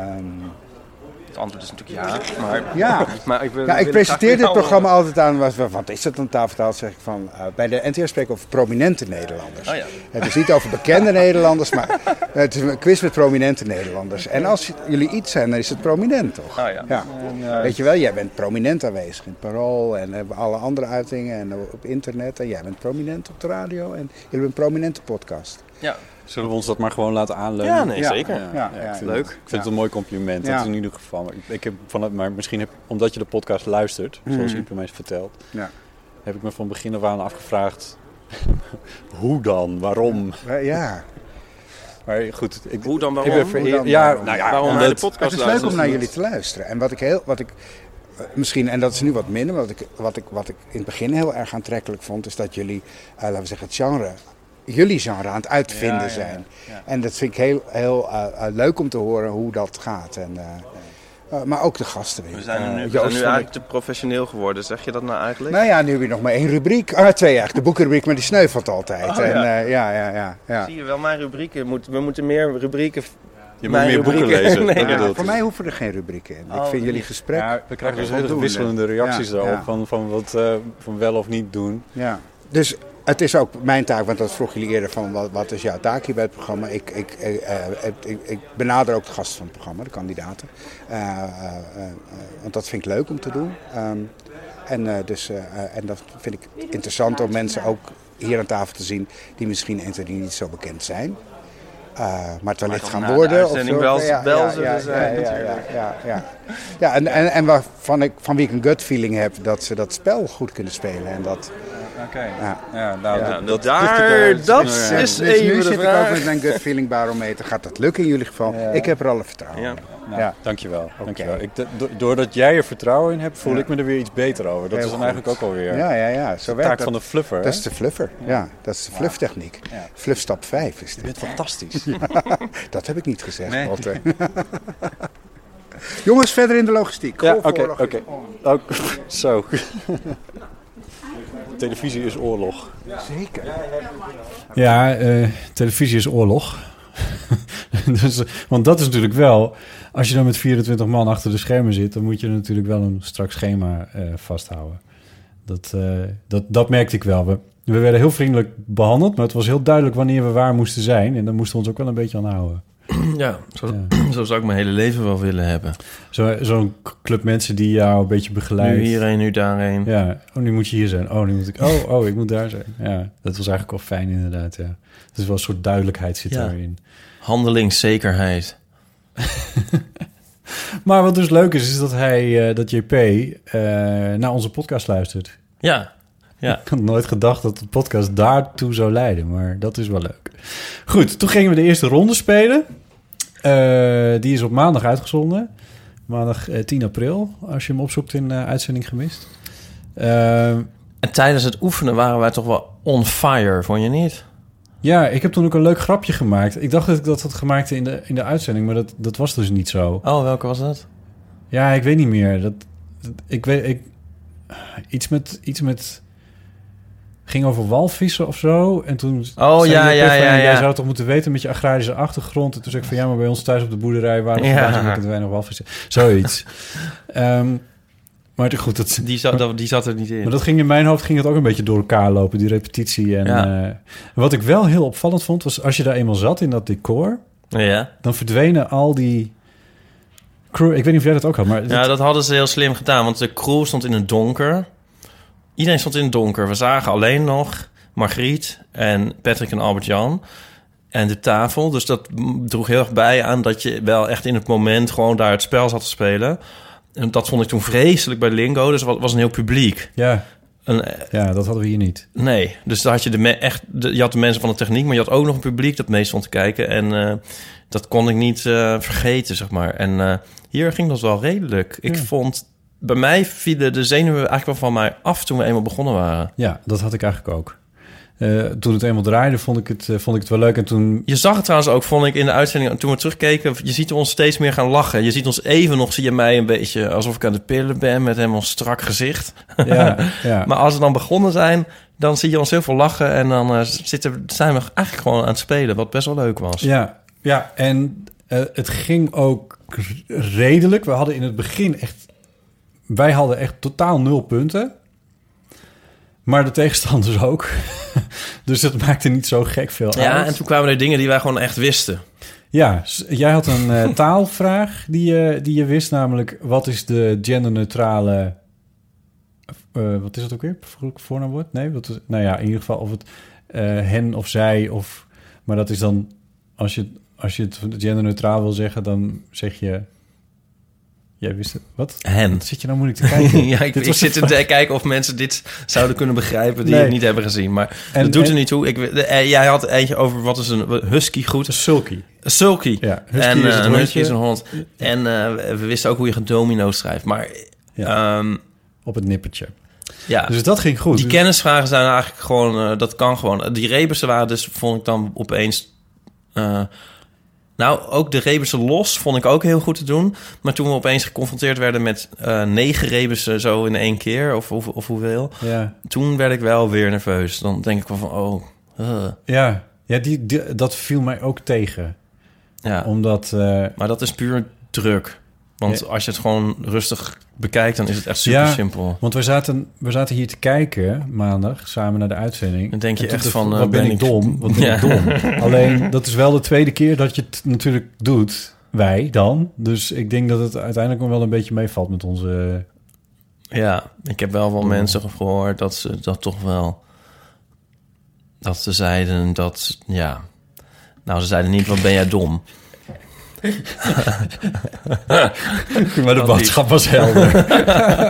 Speaker 9: Het antwoord is natuurlijk ja. Maar,
Speaker 8: Ehm, Ja,
Speaker 9: maar ik, wil-
Speaker 8: ja, ik
Speaker 9: wil graag van
Speaker 8: presenteer dit
Speaker 9: jou
Speaker 8: programma altijd aan. Wat, wat is dat een tafeltaal? Zeg ik van. eh, bij de NTR spreek ik over prominente Nederlanders.
Speaker 9: Oh ja.
Speaker 8: Het is niet over bekende Nederlanders, maar het is een quiz met prominente Nederlanders. En als jullie iets zijn, dan is het prominent toch?
Speaker 9: Oh ja. En, eh,
Speaker 8: Weet je wel, jij bent prominent aanwezig in het Parool en hebben alle andere uitingen en eh, op internet. En jij bent prominent op de radio en jullie hebben een prominente podcast.
Speaker 9: Ja.
Speaker 7: Zullen we ons dat maar gewoon laten aanleunen?
Speaker 8: Ja, nee, zeker. Ja, ja,
Speaker 7: ik vind
Speaker 8: leuk.
Speaker 7: Het, ik vind het een mooi compliment.
Speaker 8: Ja.
Speaker 7: Dat in ieder geval. Maar, ik- ik heb vanuit, maar misschien heb, omdat je de podcast luistert, zoals
Speaker 8: Mhm.
Speaker 7: Iep mij vertelt,
Speaker 8: Ja.
Speaker 7: heb ik me van begin af aan afgevraagd: hoe dan? Waarom?
Speaker 8: Eh, Ja.
Speaker 7: Maar goed, ik,
Speaker 9: hoe dan
Speaker 7: Ik ben vereerd- ja, nou ja, omdat-
Speaker 8: het is leuk om naar jullie te luisteren. En wat ik heel, wat ik eh, misschien, en dat is nu wat minder, maar wat ik, wat ik, wat ik in het begin heel erg aantrekkelijk vond, is dat jullie, eh, laten we zeggen, het genre, jullie genre aan het uitvinden
Speaker 12: Ja, ja,
Speaker 8: zijn.
Speaker 12: ja.
Speaker 8: En dat vind ik heel, heel eh, eh, leuk om te horen hoe dat gaat. En, eh, eh, maar ook de gasten weer.
Speaker 9: We zijn, er nu,
Speaker 8: Eh,
Speaker 9: we
Speaker 8: Joost
Speaker 9: zijn nu
Speaker 8: vond ik-
Speaker 9: eigenlijk te professioneel geworden. Zeg je dat nou eigenlijk?
Speaker 8: nou ja, nu heb je nog maar één rubriek. Ah, twee eigenlijk. De boekenrubriek, maar die sneuvelt altijd.
Speaker 9: Oh,
Speaker 8: en,
Speaker 9: ja.
Speaker 8: eh, ja, ja, ja, ja.
Speaker 9: Zie je wel, mijn rubrieken. Moet, we moeten meer rubrieken...
Speaker 7: Je
Speaker 9: mijn rubrieken- Nee,
Speaker 8: Ja,
Speaker 9: dat-
Speaker 8: voor mij hoeven er geen rubrieken in.
Speaker 9: Oh,
Speaker 8: ik vind jullie
Speaker 9: niet.
Speaker 8: gesprek.
Speaker 7: Ja, we krijgen dus hele
Speaker 8: voldoende.
Speaker 7: wisselende reacties
Speaker 8: Ja,
Speaker 7: daarop.
Speaker 8: ja.
Speaker 7: Van, van wat eh, van wel of niet doen.
Speaker 8: Ja. Dus het is ook mijn taak, want dat vroeg jullie eerder van wat, wat is jouw taak hier bij het programma. Ik, ik, eh, eh, ik, ik benader ook de gasten van het programma, de kandidaten. Eh, eh, eh, eh, want dat vind ik leuk om te doen. Ehm, en, eh, dus, eh, eh, en dat vind ik interessant om mensen ook hier aan tafel te zien die misschien eentje die niet zo bekend zijn. Eh, maar het wellicht
Speaker 9: toch
Speaker 8: gaan
Speaker 9: na de
Speaker 8: worden. of
Speaker 9: uitzending
Speaker 8: zo.
Speaker 9: wel-
Speaker 8: Ja,
Speaker 9: wel
Speaker 8: ja,
Speaker 9: zullen
Speaker 8: ja,
Speaker 9: zijn,
Speaker 8: ja, ja,
Speaker 9: natuurlijk.
Speaker 8: ja, ja. Ja, en, en, en waarvan ik, van wie ik een gut feeling heb dat ze dat spel goed kunnen spelen. En dat,
Speaker 7: Oké.
Speaker 8: ja.
Speaker 7: Ja, nou,
Speaker 8: Ja,
Speaker 7: dat- dat daar- ligt er wel. dat is
Speaker 8: Dus
Speaker 7: even
Speaker 8: Nu
Speaker 7: de
Speaker 8: zit ik
Speaker 7: vraag.
Speaker 8: ook met mijn gut feeling barometer. Gaat dat lukken in jullie geval? Ik heb er alle vertrouwen in.
Speaker 7: Nou, Dankjewel. dankjewel. Ik, do- doordat jij er vertrouwen in hebt, voel
Speaker 8: Ja.
Speaker 7: ik me er weer iets beter over. Dat
Speaker 8: Heel
Speaker 7: is dan
Speaker 8: goed.
Speaker 7: eigenlijk ook alweer
Speaker 8: Ja, ja, ja.
Speaker 7: de
Speaker 8: Zo werkt
Speaker 7: taak
Speaker 8: dat.
Speaker 7: van de fluffer.
Speaker 8: Dat
Speaker 7: hè?
Speaker 8: is de fluffer, ja. Dat is de flufftechniek.
Speaker 7: Ja.
Speaker 8: Fluffstap 5 is dit. Je
Speaker 7: bent fantastisch.
Speaker 8: dat heb ik niet gezegd,
Speaker 7: Nee.
Speaker 8: Walter. Jongens, verder in de logistiek.
Speaker 7: Ja, oké,
Speaker 8: Golfoorlog
Speaker 7: oké.
Speaker 8: is
Speaker 7: Ook- Zo. Televisie is oorlog.
Speaker 8: Zeker.
Speaker 3: Ja, eh, televisie is oorlog. dus, eh, want dat is natuurlijk wel... Als je dan met 24 man achter de schermen zit... dan moet je natuurlijk wel een strak schema eh, vasthouden. Dat, eh, dat, dat merkte ik wel. We, we werden heel vriendelijk behandeld... maar het was heel duidelijk wanneer we waar moesten zijn. En daar moesten we ons ook wel een beetje aan houden.
Speaker 4: Ja, zo, zo zou ik mijn hele leven wel willen hebben.
Speaker 3: Zo- Zo'n k- club mensen die jou een beetje begeleidt.
Speaker 4: Nu hierheen, nu daarheen.
Speaker 3: Ja, oh, nu moet je hier zijn. Oh, nu moet ik... Oh, oh, ik moet daar zijn. Ja, dat was eigenlijk wel fijn inderdaad, ja. Dus wel een soort duidelijkheid zit
Speaker 4: Ja.
Speaker 3: daarin.
Speaker 4: Handelingszekerheid.
Speaker 3: Maar wat dus leuk is, is dat hij, eh, dat JP, eh, naar onze podcast luistert.
Speaker 4: Ja, ja.
Speaker 3: Ik had nooit gedacht dat de podcast daartoe zou leiden, maar dat is wel leuk. Goed, toen gingen we de eerste ronde spelen. Eh, die is op maandag uitgezonden. Maandag eh, 10 april, als je hem opzoekt in eh, uitzending gemist. Ehm,
Speaker 4: En tijdens het oefenen waren wij toch wel on fire, vond je niet?
Speaker 3: ja, ik heb toen ook een leuk grapje gemaakt. Ik dacht dat ik dat had gemaakt in de, in de uitzending, maar dat, dat was dus niet zo.
Speaker 4: Oh, welke was dat?
Speaker 3: Ja, ik weet niet meer. Dat, dat- ik weet, ik, iets met, iets met, ging over walvissen of zo. En toen
Speaker 4: Oh,
Speaker 3: zei
Speaker 4: ja,
Speaker 3: die
Speaker 4: ja,
Speaker 3: Pif van,
Speaker 4: ja,
Speaker 3: Jij
Speaker 4: ja.
Speaker 3: zou toch moeten weten met je agrarische achtergrond. En toen zei ik van, ja, maar bij ons thuis op de boerderij waren we
Speaker 4: Ja.
Speaker 3: ja. met weinig walvissen. Zoiets. Ehm, maar goed, dat,
Speaker 4: Die zat, dat- die zat er niet in.
Speaker 3: maar dat ging in mijn hoofd ging het ook een beetje door elkaar lopen, die repetitie. En
Speaker 4: Ja.
Speaker 3: eh, wat ik wel heel opvallend vond, was als je daar eenmaal zat in dat decor,
Speaker 4: Ja.
Speaker 3: dan verdwenen al die crew. Ik weet niet of jij dat ook had, maar
Speaker 4: Ja, dat hadden ze heel slim gedaan, want de crew stond in het donker. Iedereen stond in het donker. We zagen alleen nog Margriet en Patrick en Albert-Jan en de tafel. Dus dat m- droeg heel erg bij aan dat je wel echt in het moment gewoon daar het spel zat te spelen. En dat vond ik toen vreselijk bij Lingo, dus het was een heel publiek.
Speaker 3: Ja.
Speaker 4: Een, eh,
Speaker 3: ja, dat hadden we hier niet.
Speaker 4: Nee, dus daar had je, de me- echt, de- je had de mensen van de techniek, maar je had ook nog een publiek dat mee stond te kijken. En eh, dat kon ik niet eh, vergeten, zeg maar. En eh, hier ging dat wel redelijk. Ik
Speaker 3: Ja.
Speaker 4: vond, bij mij vielen de zenuwen eigenlijk wel van mij af toen we eenmaal begonnen waren.
Speaker 3: Ja, dat had ik eigenlijk ook. Eh, toen het eenmaal draaide, vond ik het, eh, vond ik het wel leuk. En toen
Speaker 4: Je zag het trouwens ook, vond ik, in de uitzending, toen we terugkeken, je ziet ons steeds meer gaan lachen. Je ziet ons even nog, zie je mij een beetje alsof ik aan de pillen ben met helemaal strak gezicht.
Speaker 3: Ja, ja.
Speaker 4: maar als we dan begonnen zijn, dan zie je ons heel veel lachen en dan eh, zitten, zijn we eigenlijk gewoon aan het spelen, wat best wel leuk was.
Speaker 3: Ja, ja en eh, het ging ook r- redelijk. We hadden in het begin echt... Wij hadden echt totaal nul punten. Maar de tegenstanders ook. dus dat maakte niet zo gek veel
Speaker 4: Ja,
Speaker 3: uit.
Speaker 4: en toen kwamen er dingen die wij gewoon echt wisten.
Speaker 3: Ja, s- jij had een eh, taalvraag die je, die je wist, namelijk... wat is de genderneutrale... eh, wat is dat ook weer? Vo- Voornaamwoord? Nee, dat is, nou ja, in ieder geval of het eh, hen of zij of... Maar dat is dan... Als je, als je het genderneutraal wil zeggen, dan zeg je... Jij wist het. Wat?
Speaker 4: Hen.
Speaker 3: Zit je nou moeilijk te kijken?
Speaker 4: ja, ik,
Speaker 3: Dit
Speaker 4: ik
Speaker 3: was de
Speaker 4: zit te
Speaker 3: vraag.
Speaker 4: de- kijken of mensen dit zouden kunnen begrijpen die
Speaker 3: Nee.
Speaker 4: het niet hebben gezien. Maar
Speaker 3: En-
Speaker 4: dat doet er
Speaker 3: en-
Speaker 4: niet toe. Ik, we- de- eh, jij had eentje over wat is een husky goed?
Speaker 3: Sulky.
Speaker 4: Sulky.
Speaker 3: Ja, husky
Speaker 4: en,
Speaker 3: is
Speaker 4: eh,
Speaker 3: het
Speaker 4: een husky
Speaker 3: hondje.
Speaker 4: is een hond. En eh, we we wisten ook hoe je domino schrijft. Maar ehm,
Speaker 3: Op het nippertje.
Speaker 4: ja.
Speaker 3: Dus dat ging goed.
Speaker 4: Ah, Die
Speaker 3: Dus-
Speaker 4: kennisvragen zijn eigenlijk gewoon, eh, dat kan gewoon. Die rebussen waren dus, vond ik dan opeens. eh, nou, ook de rebussen los vond ik ook heel goed te doen. Maar toen we opeens geconfronteerd werden met eh, negen rebussen zo in één keer, of, of, of hoeveel,
Speaker 3: Ja.
Speaker 4: toen werd ik wel weer nerveus. Dan denk ik wel van, oh. eh.
Speaker 3: Ja, ja die, die- dat viel mij ook tegen.
Speaker 4: Ja.
Speaker 3: Omdat... eh,
Speaker 4: Maar dat is puur druk. Want
Speaker 3: Ja.
Speaker 4: als je het gewoon rustig bekijkt, dan is het echt super
Speaker 3: Ja,
Speaker 4: simpel.
Speaker 3: Want we zaten, we zaten hier te kijken maandag samen naar de uitzending.
Speaker 4: Dan denk je
Speaker 3: En toen
Speaker 4: echt
Speaker 3: dacht ik,
Speaker 4: van, eh,
Speaker 3: wat ben,
Speaker 4: ben
Speaker 3: ik
Speaker 4: ik-
Speaker 3: dom? Wat ben
Speaker 4: Ja.
Speaker 3: ik dom? Alleen dat is wel de tweede keer dat je het natuurlijk doet. Wij dan. Dus ik denk dat het uiteindelijk nog wel een beetje meevalt met onze. eh,
Speaker 4: Ja, ik heb wel wel mensen gehoord dat ze dat toch wel. Dat ze zeiden dat. Ja. Nou, ze zeiden niet: wat ben jij dom?
Speaker 3: maar de boodschap was helder.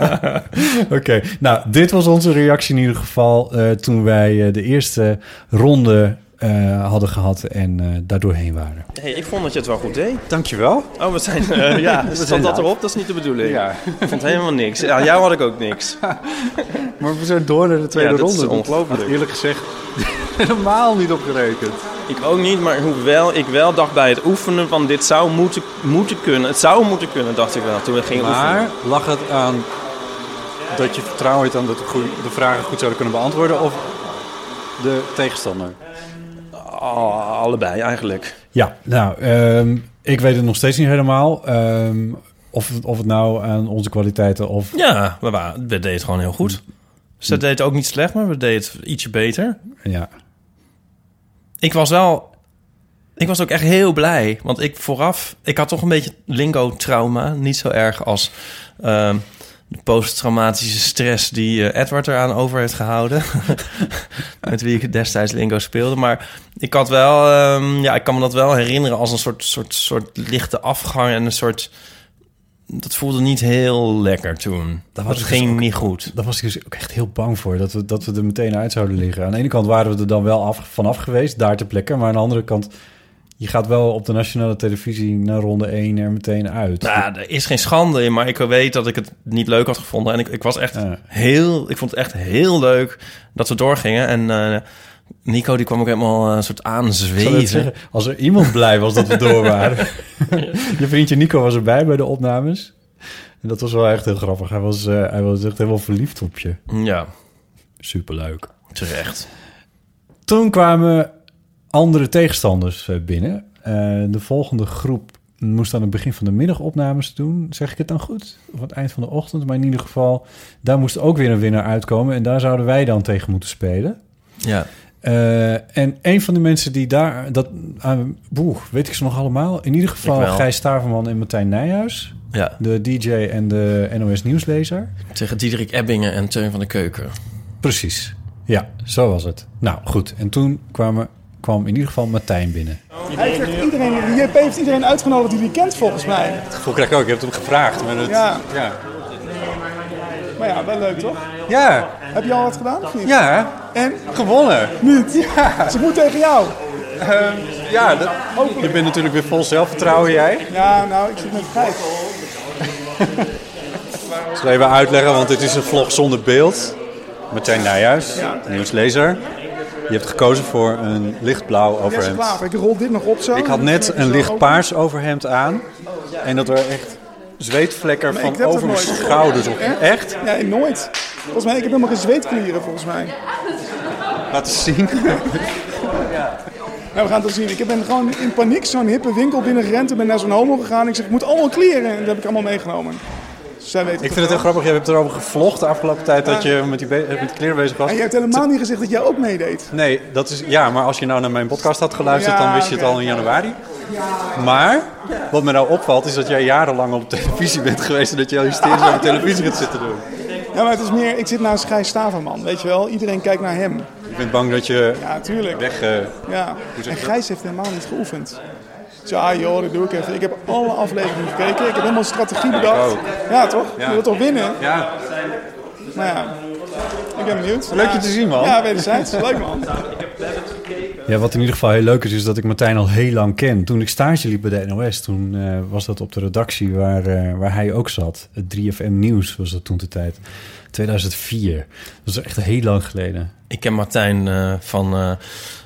Speaker 3: Oké, nou, dit was onze reactie in ieder geval eh, toen wij eh, de eerste ronde eh, hadden gehad en eh daardoor heen waren.
Speaker 9: Hey, ik vond dat je het wel goed deed.
Speaker 8: Dankjewel.
Speaker 9: Oh, we zijn... eh, ja,
Speaker 8: We zijn
Speaker 9: stond dat
Speaker 8: live.
Speaker 9: erop? Dat is niet de bedoeling.
Speaker 8: Ja.
Speaker 9: Ik vond helemaal niks. Ja, jou had ik ook niks.
Speaker 8: Maar we zijn door naar de tweede
Speaker 9: Ja, dat
Speaker 8: ronde.
Speaker 9: is ongelooflijk.
Speaker 8: Had Eerlijk gezegd, helemaal niet opgerekend.
Speaker 9: Ik ook niet, maar hoewel ik wel dacht bij het oefenen van dit zou moeten, moeten kunnen. Het zou moeten kunnen, dacht ik wel toen we gingen
Speaker 8: Maar
Speaker 9: oefenen.
Speaker 8: lag het aan dat je vertrouwen hebt aan dat we goe- de vragen goed zouden kunnen beantwoorden of de tegenstander?
Speaker 9: Oh, allebei eigenlijk.
Speaker 3: Ja, nou, ehm, ik weet het nog steeds niet helemaal. ehm, of, het- of het nou aan onze kwaliteiten of...
Speaker 4: Ja, we, wa- we deden het gewoon heel goed. Ze
Speaker 3: Hm.
Speaker 4: deden het ook niet slecht, maar we deden het ietsje beter.
Speaker 3: Ja.
Speaker 4: Ik was wel... Ik was ook echt heel blij. Want ik vooraf... Ik had toch een beetje lingo-trauma. Niet zo erg als ehm, de posttraumatische stress... die eh, Edward eraan over heeft gehouden. Met wie ik destijds lingo speelde. Maar ik had wel... ehm, ja, ik kan me dat wel herinneren als een soort, soort, soort lichte afgang... en een soort... Dat voelde niet heel lekker toen. Dat,
Speaker 3: was ik dus
Speaker 4: ging niet goed.
Speaker 3: Daar was ik dus ook echt heel bang voor, dat we, dat we er meteen uit zouden liggen. Aan de ene kant waren we er dan wel af, vanaf geweest, daar ter plekke. Maar aan de andere kant, je gaat wel op de nationale televisie na ronde 1 er meteen uit.
Speaker 4: Nou, er is geen schande in, maar ik weet dat ik het niet leuk had gevonden. En ik, ik was echt heel, ik vond het echt heel leuk dat we doorgingen. En eh, Nico, die kwam ook helemaal eh, een soort
Speaker 3: Ik zou net zeggen,
Speaker 4: aanzwezen.
Speaker 3: als er iemand blij was dat we door waren. je vriendje Nico was erbij bij de opnames. En dat was wel echt heel grappig. Hij was, eh, hij was echt helemaal verliefd op je.
Speaker 4: Ja.
Speaker 3: Superleuk.
Speaker 4: Terecht.
Speaker 3: Toen kwamen andere tegenstanders eh, binnen. Eh, de volgende groep moest aan het begin van de middag opnames doen. Zeg ik het dan goed? Of aan het eind van de ochtend. Maar in ieder geval, daar moest ook weer een winnaar uitkomen. En daar zouden wij dan tegen moeten spelen.
Speaker 4: Ja.
Speaker 3: Eh, en een van de mensen die daar... Dat, aan boeh, weet ik ze nog allemaal? In ieder geval
Speaker 4: Ik wel.
Speaker 3: Gijs Staverman en Martijn Nijhuis.
Speaker 4: Ja.
Speaker 3: De DJ en de NOS Nieuwslezer.
Speaker 4: Tegen Diederik Ebbingen en Teun van de Keuken.
Speaker 3: Precies. Ja, zo was het. Nou, goed. En toen kwamen, kwam in ieder geval Martijn binnen.
Speaker 12: Hij krijgt iedereen, JP heeft iedereen uitgenodigd die hij kent volgens mij.
Speaker 8: Het gevoel krijg ik ook, je hebt hem gevraagd. Maar het,
Speaker 12: Ja.
Speaker 8: ja.
Speaker 12: Maar ja, wel leuk toch?
Speaker 8: Ja.
Speaker 12: Heb je al wat gedaan of niet?
Speaker 8: Ja, en gewonnen.
Speaker 12: Niet? Ja. Ze moet tegen jou.
Speaker 8: Ehm, ja, dat- je bent natuurlijk weer vol zelfvertrouwen, jij.
Speaker 12: Ja, nou, ik zit met vijf.
Speaker 8: Ik zal even uitleggen, want dit is een vlog zonder beeld. Martijn Nijhuis,
Speaker 12: Ja.
Speaker 8: nieuwslezer. Je hebt gekozen voor een lichtblauw
Speaker 12: Jesse
Speaker 8: overhemd.
Speaker 12: Klaver, ik rol dit nog op zo.
Speaker 8: Ik had net een licht paars overhemd aan. En dat er echt zweetvlekken
Speaker 12: Maar ik
Speaker 8: van
Speaker 12: heb dat
Speaker 8: over mijn
Speaker 12: nooit.
Speaker 8: schouders op. Echt?
Speaker 12: Nee, nooit. Volgens mij, ik heb helemaal geen zweetklieren volgens mij.
Speaker 8: Laten zien.
Speaker 12: Ja, we gaan het wel zien. Ik ben gewoon in paniek zo'n hippe winkel binnengerend en ben naar zo'n homo gegaan. Ik zeg, ik moet allemaal kleren. En dat heb ik allemaal meegenomen. Dus zij weten
Speaker 8: Ik vind het heel grappig, jij hebt erover gevlogd de afgelopen tijd dat
Speaker 12: Ja.
Speaker 8: je met die, be- eh, met die kleren bezig was.
Speaker 12: En je hebt helemaal niet gezegd dat jij ook meedeed.
Speaker 8: Nee, dat is, ja, maar als je nou naar mijn podcast had geluisterd,
Speaker 12: Ja,
Speaker 8: dan wist je het
Speaker 12: oké.
Speaker 8: al in januari. Maar wat me nou opvalt, is dat jij jarenlang op televisie bent geweest en dat je al hysterisch op de televisie gaat zitten doen.
Speaker 12: Ja, maar het is meer, ik zit naast Gijs Staverman, weet je wel. Iedereen kijkt naar hem.
Speaker 8: Ik ben bang dat je
Speaker 12: Ja, tuurlijk.
Speaker 8: weg... eh,
Speaker 12: Ja,
Speaker 8: Hoe zeg je
Speaker 12: en
Speaker 8: dat?
Speaker 12: Gijs heeft helemaal niet geoefend. Dus ja, joh, dat doe ik even. Ik heb alle afleveringen gekeken. Ik heb helemaal een strategie bedacht.
Speaker 8: ook.
Speaker 12: Ja, toch?
Speaker 8: Ja.
Speaker 12: Je wilt toch winnen?
Speaker 8: Ja.
Speaker 12: Nou ja, ik ben benieuwd.
Speaker 8: Leuk je te zien, man.
Speaker 12: Ja, wederzijds. Leuk, man.
Speaker 3: Ja, wat in ieder geval heel leuk is, is dat ik Martijn al heel lang ken. Toen ik stage liep bij de NOS, toen eh, was dat op de redactie waar, eh, waar hij ook zat. Het 3FM Nieuws was dat toen de tijd. 2004. Dat is echt heel lang geleden.
Speaker 4: Ik ken Martijn eh, van eh,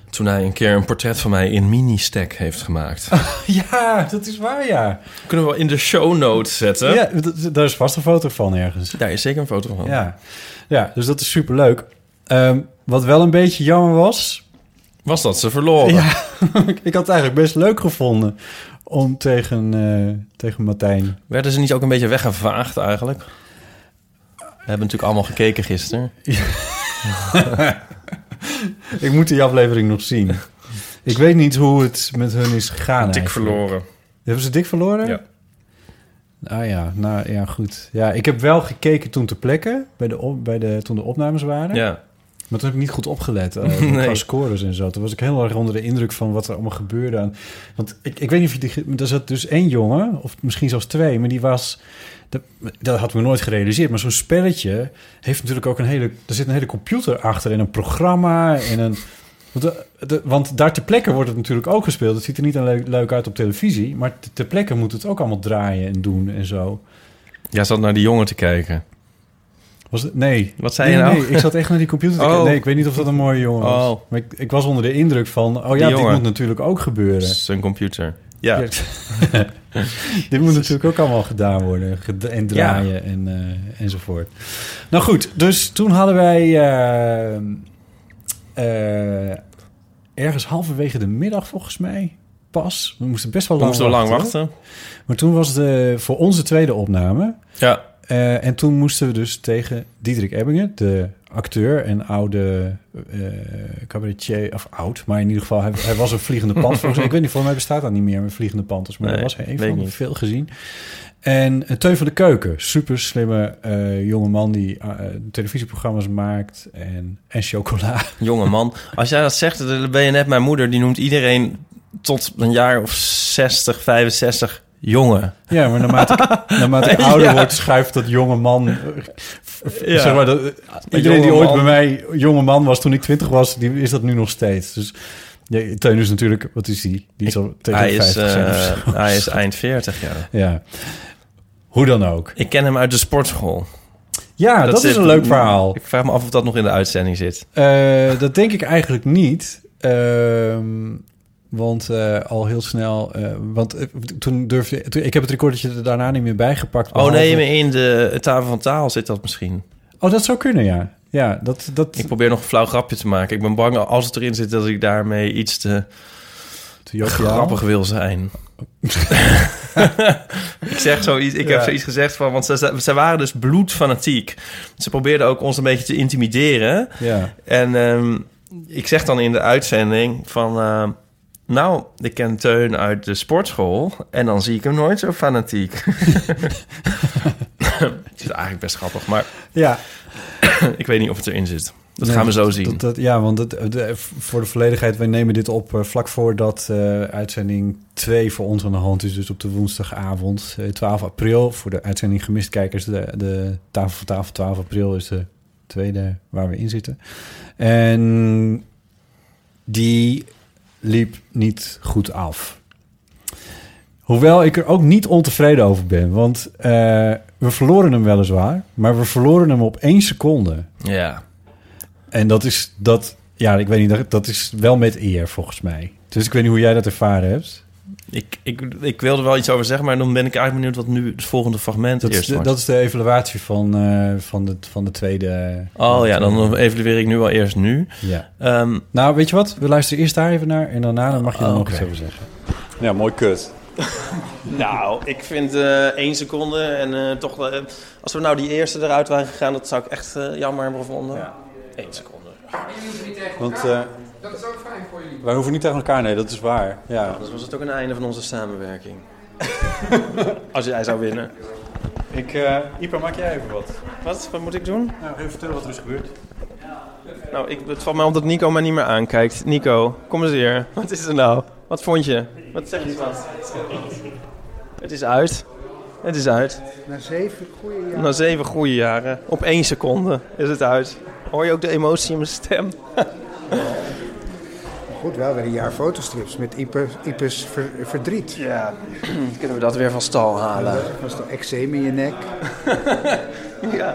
Speaker 4: toen hij een keer een portret van mij in mini-stack heeft gemaakt.
Speaker 3: Ah. Ja, dat is waar, ja.
Speaker 4: Kunnen we wel in de show notes zetten.
Speaker 3: Ja, dat- daar is vast een foto van ergens.
Speaker 4: Daar is zeker een foto van.
Speaker 3: Ja, ja dus dat is superleuk. Ehm, wat wel een beetje jammer was...
Speaker 4: Was dat ze verloren.
Speaker 3: Ja, ik had het eigenlijk best leuk gevonden om tegen, eh, tegen Martijn...
Speaker 4: Werden ze niet ook een beetje weggevaagd eigenlijk? We hebben natuurlijk allemaal gekeken gisteren.
Speaker 3: ik moet die aflevering nog zien. Ik weet niet hoe het met hun is gegaan.
Speaker 4: Dik
Speaker 3: eigenlijk.
Speaker 4: verloren.
Speaker 3: Hebben ze dik verloren?
Speaker 4: Ja.
Speaker 3: Ah ja, nou ja, goed. Ja, ik heb wel gekeken toen ter plekke, bij de op, bij de, toen de opnames waren.
Speaker 4: Ja.
Speaker 3: Maar toen heb ik niet goed opgelet eh,
Speaker 4: Nee.
Speaker 3: qua scores en zo. Toen was ik heel erg onder de indruk van wat er allemaal gebeurde. aan- Want ik, ik weet niet of je... Die, maar er zat dus één jongen, of misschien zelfs twee... maar die was... Dat, dat had ik me nooit gerealiseerd. Maar zo'n spelletje heeft natuurlijk ook een hele... Er zit een hele computer achter en een programma en een... Want, eh, de- want daar ter plekke wordt het natuurlijk ook gespeeld. Het ziet er niet alleen leuk- leuk uit op televisie, maar te- ter plekke moet het ook allemaal draaien en doen en zo.
Speaker 4: Jij zat naar die jongen te kijken.
Speaker 3: Was het, nee.
Speaker 4: Wat zei
Speaker 3: Nee,
Speaker 4: je nou?
Speaker 3: Nee, ik zat echt naar die computer te
Speaker 4: Oh.
Speaker 3: kijken. Nee, ik weet niet of dat een mooie jongen was.
Speaker 4: Oh.
Speaker 3: Maar ik, ik was onder de indruk van, oh
Speaker 4: Die
Speaker 3: ja, dit
Speaker 4: jongen.
Speaker 3: moet natuurlijk ook gebeuren.
Speaker 4: Zijn computer. Ja.
Speaker 3: dit moet natuurlijk ook allemaal gedaan worden. ged- En draaien en, eh, enzovoort. Nou goed, dus toen hadden wij... eh, eh, ergens halverwege de middag volgens mij pas. We moesten best wel
Speaker 4: We
Speaker 3: lang
Speaker 4: moesten wel lang
Speaker 3: Maar toen was de voor onze tweede opname.
Speaker 4: Ja.
Speaker 3: Eh, en toen moesten we dus tegen Diederik Ebbingen, de acteur en oude eh cabaretier, of oud, maar in ieder geval, hij, hij was een vliegende pand. Volgens mij, ik weet niet, volgens mij bestaat dat niet meer met vliegende panthers, maar
Speaker 4: Nee,
Speaker 3: dat was hij een
Speaker 4: weet
Speaker 3: van
Speaker 4: niet.
Speaker 3: veel gezien. En eh, Teun van de Keuken, super slimme eh jonge man die eh, televisieprogramma's maakt en, en chocola.
Speaker 4: Jonge man, als jij dat zegt, dan ben je net mijn moeder. Die noemt iedereen tot een jaar of 60, 65 jongen.
Speaker 3: Ja, maar naarmate ik, naarmate ik ouder
Speaker 4: Ja.
Speaker 3: word, schuift dat jonge man. eh, f- f-
Speaker 4: Ja.
Speaker 3: Zeg maar, dat, eh,
Speaker 4: Een
Speaker 3: iedereen die
Speaker 4: jonge
Speaker 3: ooit bij
Speaker 4: man.
Speaker 3: mij jonge man was toen ik twintig was, die is dat nu nog steeds. Dus ja, Teun is natuurlijk, wat is die? Die is al tegen
Speaker 4: Hij
Speaker 3: de
Speaker 4: is,
Speaker 3: 50 zijn of
Speaker 4: eh,
Speaker 3: zo.
Speaker 4: hij is eind 40, ja.
Speaker 3: Ja. Hoe dan ook.
Speaker 4: Ik ken hem uit de sportschool.
Speaker 3: Ja, dat is een leuk verhaal.
Speaker 4: Ik vraag me af of dat nog in de uitzending zit.
Speaker 3: Eh, dat denk ik eigenlijk niet. Ehm, want eh, al heel snel. eh, want eh, toen durfde. Toen, ik heb het recordertje er daarna niet meer bijgepakt.
Speaker 4: Oh nee,
Speaker 3: behalve-
Speaker 4: maar in de tafel van taal zit dat misschien.
Speaker 3: Oh, dat zou kunnen, ja. Ja, dat, dat,
Speaker 4: Ik probeer nog een flauw grapje te maken. Ik ben bang als het erin zit dat ik daarmee iets te,
Speaker 3: joviaal?
Speaker 4: grappig wil zijn. ik zeg zoiets, ik heb
Speaker 9: Ja.
Speaker 4: zoiets gezegd van, want ze, ze waren dus bloedfanatiek. Ze probeerden ook ons een beetje te intimideren.
Speaker 3: Ja.
Speaker 4: En ehm, ik zeg dan in de uitzending van, ehm, nou, ik ken Teun uit de sportschool en dan zie ik hem nooit zo fanatiek. Het is eigenlijk best grappig, maar
Speaker 3: Ja.
Speaker 4: ik weet niet of het erin zit. Dat
Speaker 3: Nee,
Speaker 4: gaan we zo
Speaker 3: dat-
Speaker 4: zien.
Speaker 3: dat- dat- ja, want het, de- voor de volledigheid, wij nemen dit op eh, vlak voordat eh, uitzending 2 voor ons aan de hand is. Dus op de woensdagavond, eh, 12 april. Voor de uitzending gemist kijkers, de, de tafel voor tafel 12 april is de tweede waar we in zitten. En die liep niet goed af. Hoewel ik er ook niet ontevreden over ben, want eh, we verloren hem weliswaar, maar we verloren hem op één seconde.
Speaker 4: Ja.
Speaker 3: En dat is dat, ja, ik weet niet, dat- dat is wel met eer volgens mij. Dus ik weet niet hoe jij dat ervaren hebt.
Speaker 4: Ik, ik, ik wilde wel iets over zeggen, maar dan ben ik eigenlijk benieuwd wat nu het volgende fragment
Speaker 3: Dat, is
Speaker 4: eerst
Speaker 3: de,
Speaker 4: wordt.
Speaker 3: dat is de evaluatie van, eh, van, de, van de tweede.
Speaker 4: Oh ja, dan evalueer ik nu wel eerst nu.
Speaker 3: Ja.
Speaker 4: Ehm,
Speaker 3: Nou, weet je wat? We luisteren eerst daar even naar en daarna dan mag je dan
Speaker 4: Oh,
Speaker 3: nog
Speaker 4: oké.
Speaker 3: iets over zeggen.
Speaker 7: Ja, mooi kut.
Speaker 9: Nou, ik vind eh één seconde en eh, toch... eh, als we nou die eerste eruit waren gegaan, dat zou ik echt eh, jammer hebben gevonden. Eén seconde.
Speaker 7: Want eh,
Speaker 9: Dat is ook fijn voor jullie.
Speaker 7: wij hoeven niet tegen elkaar, nee, dat is waar. Ja.
Speaker 9: Anders was het ook een einde van onze samenwerking. als jij zou winnen.
Speaker 7: Ik, eh Ipa, maak jij even wat?
Speaker 9: Wat? Wat moet ik doen?
Speaker 7: Nou, even vertellen wat er is gebeurd.
Speaker 9: Nou, ik, het valt mij op dat Nico mij niet meer aankijkt. Nico, kom eens hier. Wat is er nou? Wat vond je? Wat zeg je van? Het is uit. Het is uit.
Speaker 12: Na zeven goede jaren.
Speaker 9: Na zeven goede jaren, op één seconde, is het uit. Hoor je ook de emotie in mijn stem?
Speaker 13: Goed, wel weer een jaar fotostrips met Ieper- Iepers ver- verdriet.
Speaker 9: Ja, kunnen we dat weer van stal halen?
Speaker 13: Dat was toch eczeem in je nek?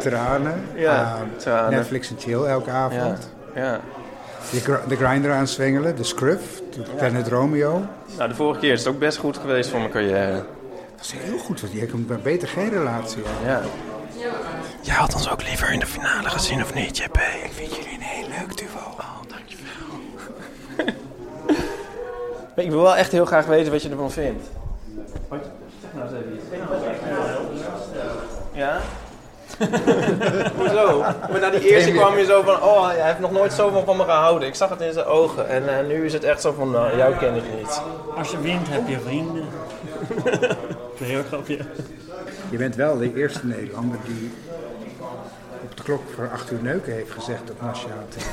Speaker 13: Tranen.
Speaker 9: Ja,
Speaker 13: Ah,
Speaker 9: tranen.
Speaker 13: Netflix en chill elke avond.
Speaker 9: Ja.
Speaker 13: De, gr- de grinder aanswengelen, de scruff, de Planet Romeo.
Speaker 9: Nou, de vorige keer is het ook best goed geweest voor mijn carrière.
Speaker 13: Dat is heel goed, want je kunt maar beter geen relatie hebben.
Speaker 9: Ja. Jij had ons ook liever in de finale gezien, of niet, JP? Ik vind jullie een heel leuk duo. Oh, dankjewel. ik wil wel echt heel graag weten wat je ervan vindt. Zeg nou eens even Ja? Hoezo? Maar na die eerste kwam je zo van, oh, hij heeft nog nooit zoveel van me gehouden. Ik zag het in zijn ogen. En eh, nu is het echt zo van, nou, jou ken ik niet.
Speaker 14: Als je wint heb je vrienden. Heel grapje.
Speaker 13: Je bent wel de eerste Nederlander die op de klok voor 8 uur neuken heeft gezegd op nationaal TV.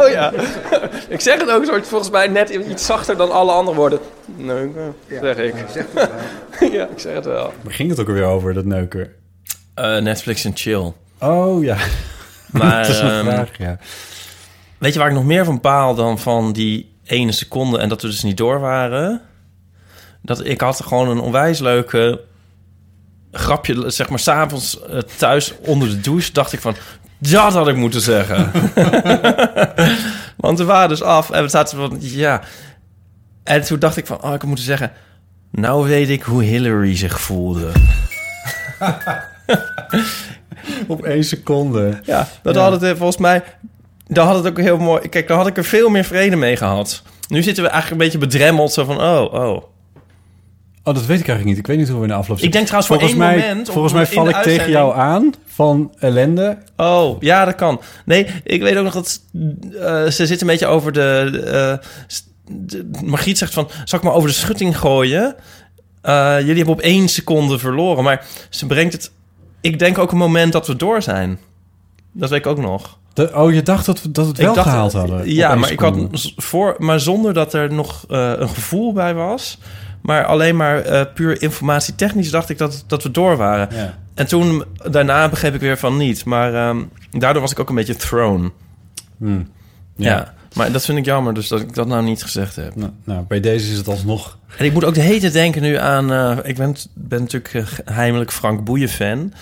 Speaker 9: oh ja. ik zeg het ook soort, volgens mij net iets zachter dan alle andere woorden. Neuken, zeg ik. ja, ik zeg het wel.
Speaker 3: Waar ging het ook alweer over, dat neuken?
Speaker 4: eh, Netflix en chill.
Speaker 3: Oh ja.
Speaker 4: Maar,
Speaker 3: dat is een
Speaker 4: ehm,
Speaker 3: vraag, ja.
Speaker 4: Weet je waar ik nog meer van paal dan van die ene seconde en dat we dus niet door waren? Dat ik had gewoon een onwijs leuke grapje, zeg maar, s'avonds eh, thuis onder de douche dacht ik van, dat had ik moeten zeggen. Want we waren dus af en we zaten van, ja. En toen dacht ik van, oh, ik had moeten zeggen, nou weet ik hoe Hillary zich voelde.
Speaker 3: Op één seconde.
Speaker 4: Ja, dat
Speaker 3: Ja.
Speaker 4: had het eh, volgens mij. Daar had het ook heel mooi. Kijk, daar had ik er veel meer vrede mee gehad. Nu zitten we eigenlijk een beetje bedremmeld. Zo van, oh, oh.
Speaker 3: Oh, dat weet ik eigenlijk niet. Ik weet niet hoe we in de afloop zitten.
Speaker 4: Ik denk trouwens voor
Speaker 3: volgens
Speaker 4: één
Speaker 3: mij,
Speaker 4: moment, of
Speaker 3: Volgens mij
Speaker 4: in
Speaker 3: val
Speaker 4: de
Speaker 3: ik tegen jou aan van ellende.
Speaker 4: Oh, ja, dat kan. Nee, ik weet ook nog dat eh, ze zit een beetje over de, eh, s- de- Margriet zegt van, zal ik maar over de schutting gooien? Eh, jullie hebben op één seconde verloren, maar ze brengt het... Ik denk ook een moment dat we door zijn. Dat weet ik ook nog.
Speaker 3: De- oh, je dacht dat we dat we het wel
Speaker 4: Ik dacht-
Speaker 3: gehaald hadden.
Speaker 4: Ja,
Speaker 3: Op één
Speaker 4: maar, ik had
Speaker 3: seconde.
Speaker 4: z- voor, maar zonder dat er nog eh, een gevoel bij was. Maar alleen maar eh, puur informatietechnisch dacht ik dat, dat we door waren.
Speaker 3: Ja.
Speaker 4: En toen daarna begreep ik weer van niet. Maar ehm, daardoor was ik ook een beetje thrown.
Speaker 3: Hmm.
Speaker 4: Ja. maar dat vind ik jammer, dus dat ik dat nou niet gezegd heb.
Speaker 3: Nou, nou, bij deze is het alsnog.
Speaker 4: En ik moet ook de hele tijd denken nu aan... eh, ik ben, ben natuurlijk eh, heimelijk Frank Boeien-fan.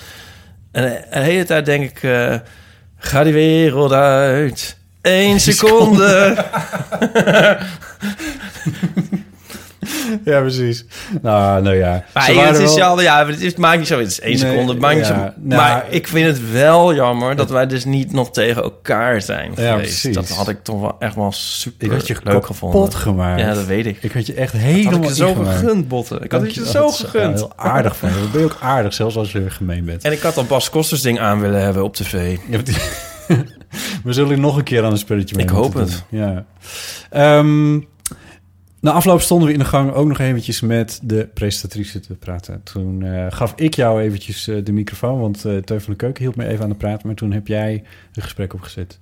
Speaker 4: En eh, de hele tijd denk ik... eh, ga die wereld uit. Eén seconde.
Speaker 3: ja, precies. Nou, nou ja.
Speaker 4: Maar
Speaker 3: Ze
Speaker 4: ja,
Speaker 3: waren
Speaker 4: het, is
Speaker 3: wel-
Speaker 4: wel, ja, het, is, het maakt niet zo. Het is één
Speaker 3: Nee,
Speaker 4: seconde. Het maakt niet
Speaker 3: ja,
Speaker 4: zo-
Speaker 3: nou,
Speaker 4: maar ik vind het wel jammer dat wij dus niet nog tegen elkaar zijn
Speaker 3: Ja,
Speaker 4: geweest.
Speaker 3: precies.
Speaker 4: dat had ik toch wel echt wel super
Speaker 3: Ik had je
Speaker 4: leuk
Speaker 3: kapot
Speaker 4: gevonden.
Speaker 3: gemaakt.
Speaker 4: Ja, dat weet ik.
Speaker 3: Ik had je echt
Speaker 4: Dat
Speaker 3: helemaal
Speaker 4: had ik je zo
Speaker 3: ingemaakt.
Speaker 4: gegund, Botten. Ik had het je
Speaker 3: Dankjewel.
Speaker 4: zo
Speaker 3: Dat is,
Speaker 4: gegund.
Speaker 3: ja, heel aardig van je. Dan ben je ook aardig, zelfs als je gemeen bent.
Speaker 4: En ik had al Bas Kosters ding aan willen hebben op tv.
Speaker 3: We zullen nog een keer aan een spelletje mee
Speaker 4: Ik
Speaker 3: moeten
Speaker 4: hoop het.
Speaker 3: doen. Ja. Ehm, na afloop stonden we in de gang ook nog eventjes met de presentatrice te praten. Toen eh, gaf ik jou eventjes eh, de microfoon, want eh Teun van de Keuken hield me even aan de praat. Maar toen heb jij een gesprek opgezet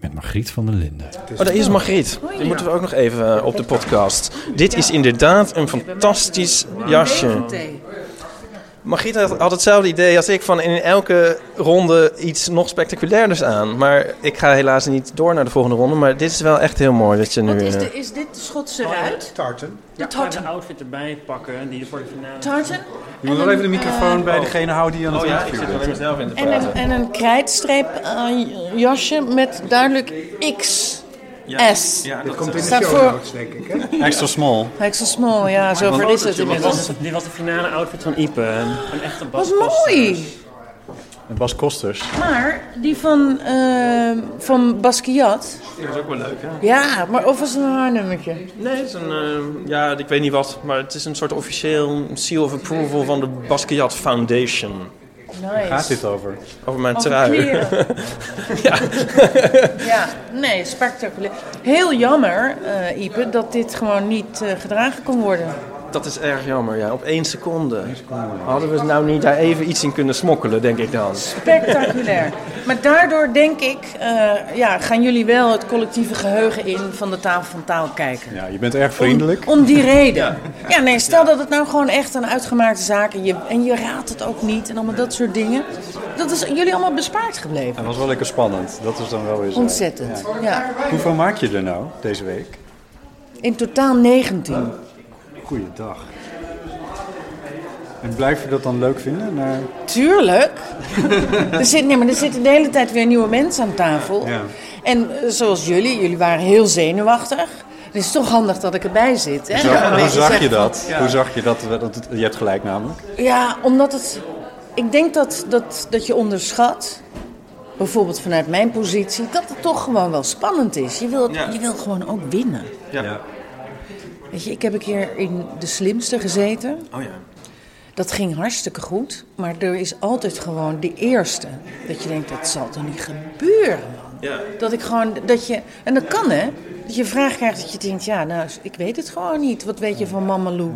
Speaker 3: met Margriet van der Linden.
Speaker 9: Oh, daar is Margriet. Die moeten we ook nog even eh, op de podcast. Dit is inderdaad een fantastisch jasje. Margriet had, had hetzelfde idee als ik van in elke ronde iets nog spectaculairders aan. Maar ik ga helaas niet door naar de volgende ronde. Maar dit is wel echt heel mooi dat je nu...
Speaker 14: is
Speaker 9: eh,
Speaker 14: de-
Speaker 5: Is dit de Schotse
Speaker 14: Oh, ja,
Speaker 5: ruit?
Speaker 13: Tartan.
Speaker 5: De
Speaker 14: Ja,
Speaker 5: tartan.
Speaker 14: een outfit erbij pakken die je voor de finale...
Speaker 5: Tartan?
Speaker 14: Je
Speaker 5: moet En wel een, even de microfoon eh, bij
Speaker 9: degene houden die aan het interview
Speaker 14: zit
Speaker 9: bent.
Speaker 14: alleen maar
Speaker 9: zelf in te
Speaker 5: En een, en een krijtstreep eh, jasje met duidelijk X. S.
Speaker 14: ja,
Speaker 13: dat komt in de
Speaker 5: Staat
Speaker 13: show
Speaker 5: voor-
Speaker 13: notes, denk ik. Hè?
Speaker 9: Extra small.
Speaker 5: Extra small, ja, zo ver is het inmiddels.
Speaker 14: Dit was de finale outfit van Ipe.
Speaker 9: Ehm,
Speaker 14: Een echte
Speaker 5: Wat
Speaker 14: Bas
Speaker 5: mooi!
Speaker 9: Bas Kosters.
Speaker 5: Maar die van, eh, van Basquiat,
Speaker 9: Die was ook wel leuk, hè?
Speaker 5: ja, maar of was het een haar nummertje?
Speaker 9: Nee, het is een, eh, ja, ik weet niet wat, maar het is een soort officieel seal of approval van de Basquiat Foundation.
Speaker 5: Nice.
Speaker 9: Gaat dit over? Over mijn
Speaker 5: Over
Speaker 9: trui.
Speaker 5: kleren.
Speaker 9: ja.
Speaker 5: Ja, nee, spectaculair. Heel jammer, eh, Ipe, dat dit gewoon niet eh, gedragen kon worden.
Speaker 9: Dat is erg jammer, ja. Op één seconde. Hadden we nou niet daar even iets in kunnen smokkelen, denk ik dan.
Speaker 5: Spectaculair. Maar daardoor denk ik, eh, ja, gaan jullie wel het collectieve geheugen in van de tafel van taal kijken.
Speaker 8: Ja, je bent erg vriendelijk.
Speaker 5: Om die reden. Ja, nee, stel dat het nou gewoon echt een uitgemaakte zaak en je, en je raadt het ook niet en allemaal dat soort dingen. Dat is jullie allemaal bespaard gebleven.
Speaker 8: Het was wel lekker spannend. Dat is dan wel weer zo.
Speaker 5: Ontzettend.
Speaker 8: Ja.
Speaker 5: Ja.
Speaker 8: Hoeveel maak je er nou deze week?
Speaker 5: In totaal 19.
Speaker 8: Goeiedag. En blijf je dat dan leuk vinden? Nou,
Speaker 5: Tuurlijk. er, zit, nee, maar er zitten de hele tijd weer nieuwe mensen aan tafel.
Speaker 8: ja.
Speaker 5: En eh, zoals jullie, jullie waren heel zenuwachtig. Het is toch handig dat ik erbij zit. Hè?
Speaker 8: Hoe
Speaker 5: Dat ik een
Speaker 8: zag, hoe
Speaker 5: beetje
Speaker 8: zag
Speaker 5: zeg
Speaker 8: je
Speaker 5: van-
Speaker 8: dat? Hoe zag je dat? dat het- je hebt gelijk namelijk.
Speaker 5: Ja, omdat het. Ik denk dat, dat, dat je onderschat, bijvoorbeeld vanuit mijn positie, dat het toch gewoon wel spannend is. Je wil,
Speaker 9: Ja.
Speaker 5: je wil gewoon ook winnen.
Speaker 9: Ja.
Speaker 5: Weet je, ik heb een keer in de slimste gezeten.
Speaker 9: Oh ja.
Speaker 5: Dat ging hartstikke goed, maar er is altijd gewoon de eerste. Dat je denkt, dat zal toch niet gebeuren, man.
Speaker 9: Ja.
Speaker 5: Dat ik gewoon, dat je, en dat kan hè, dat je een vraag krijgt dat je denkt, ja, nou, ik weet het gewoon niet. Wat weet je van Mama Lou?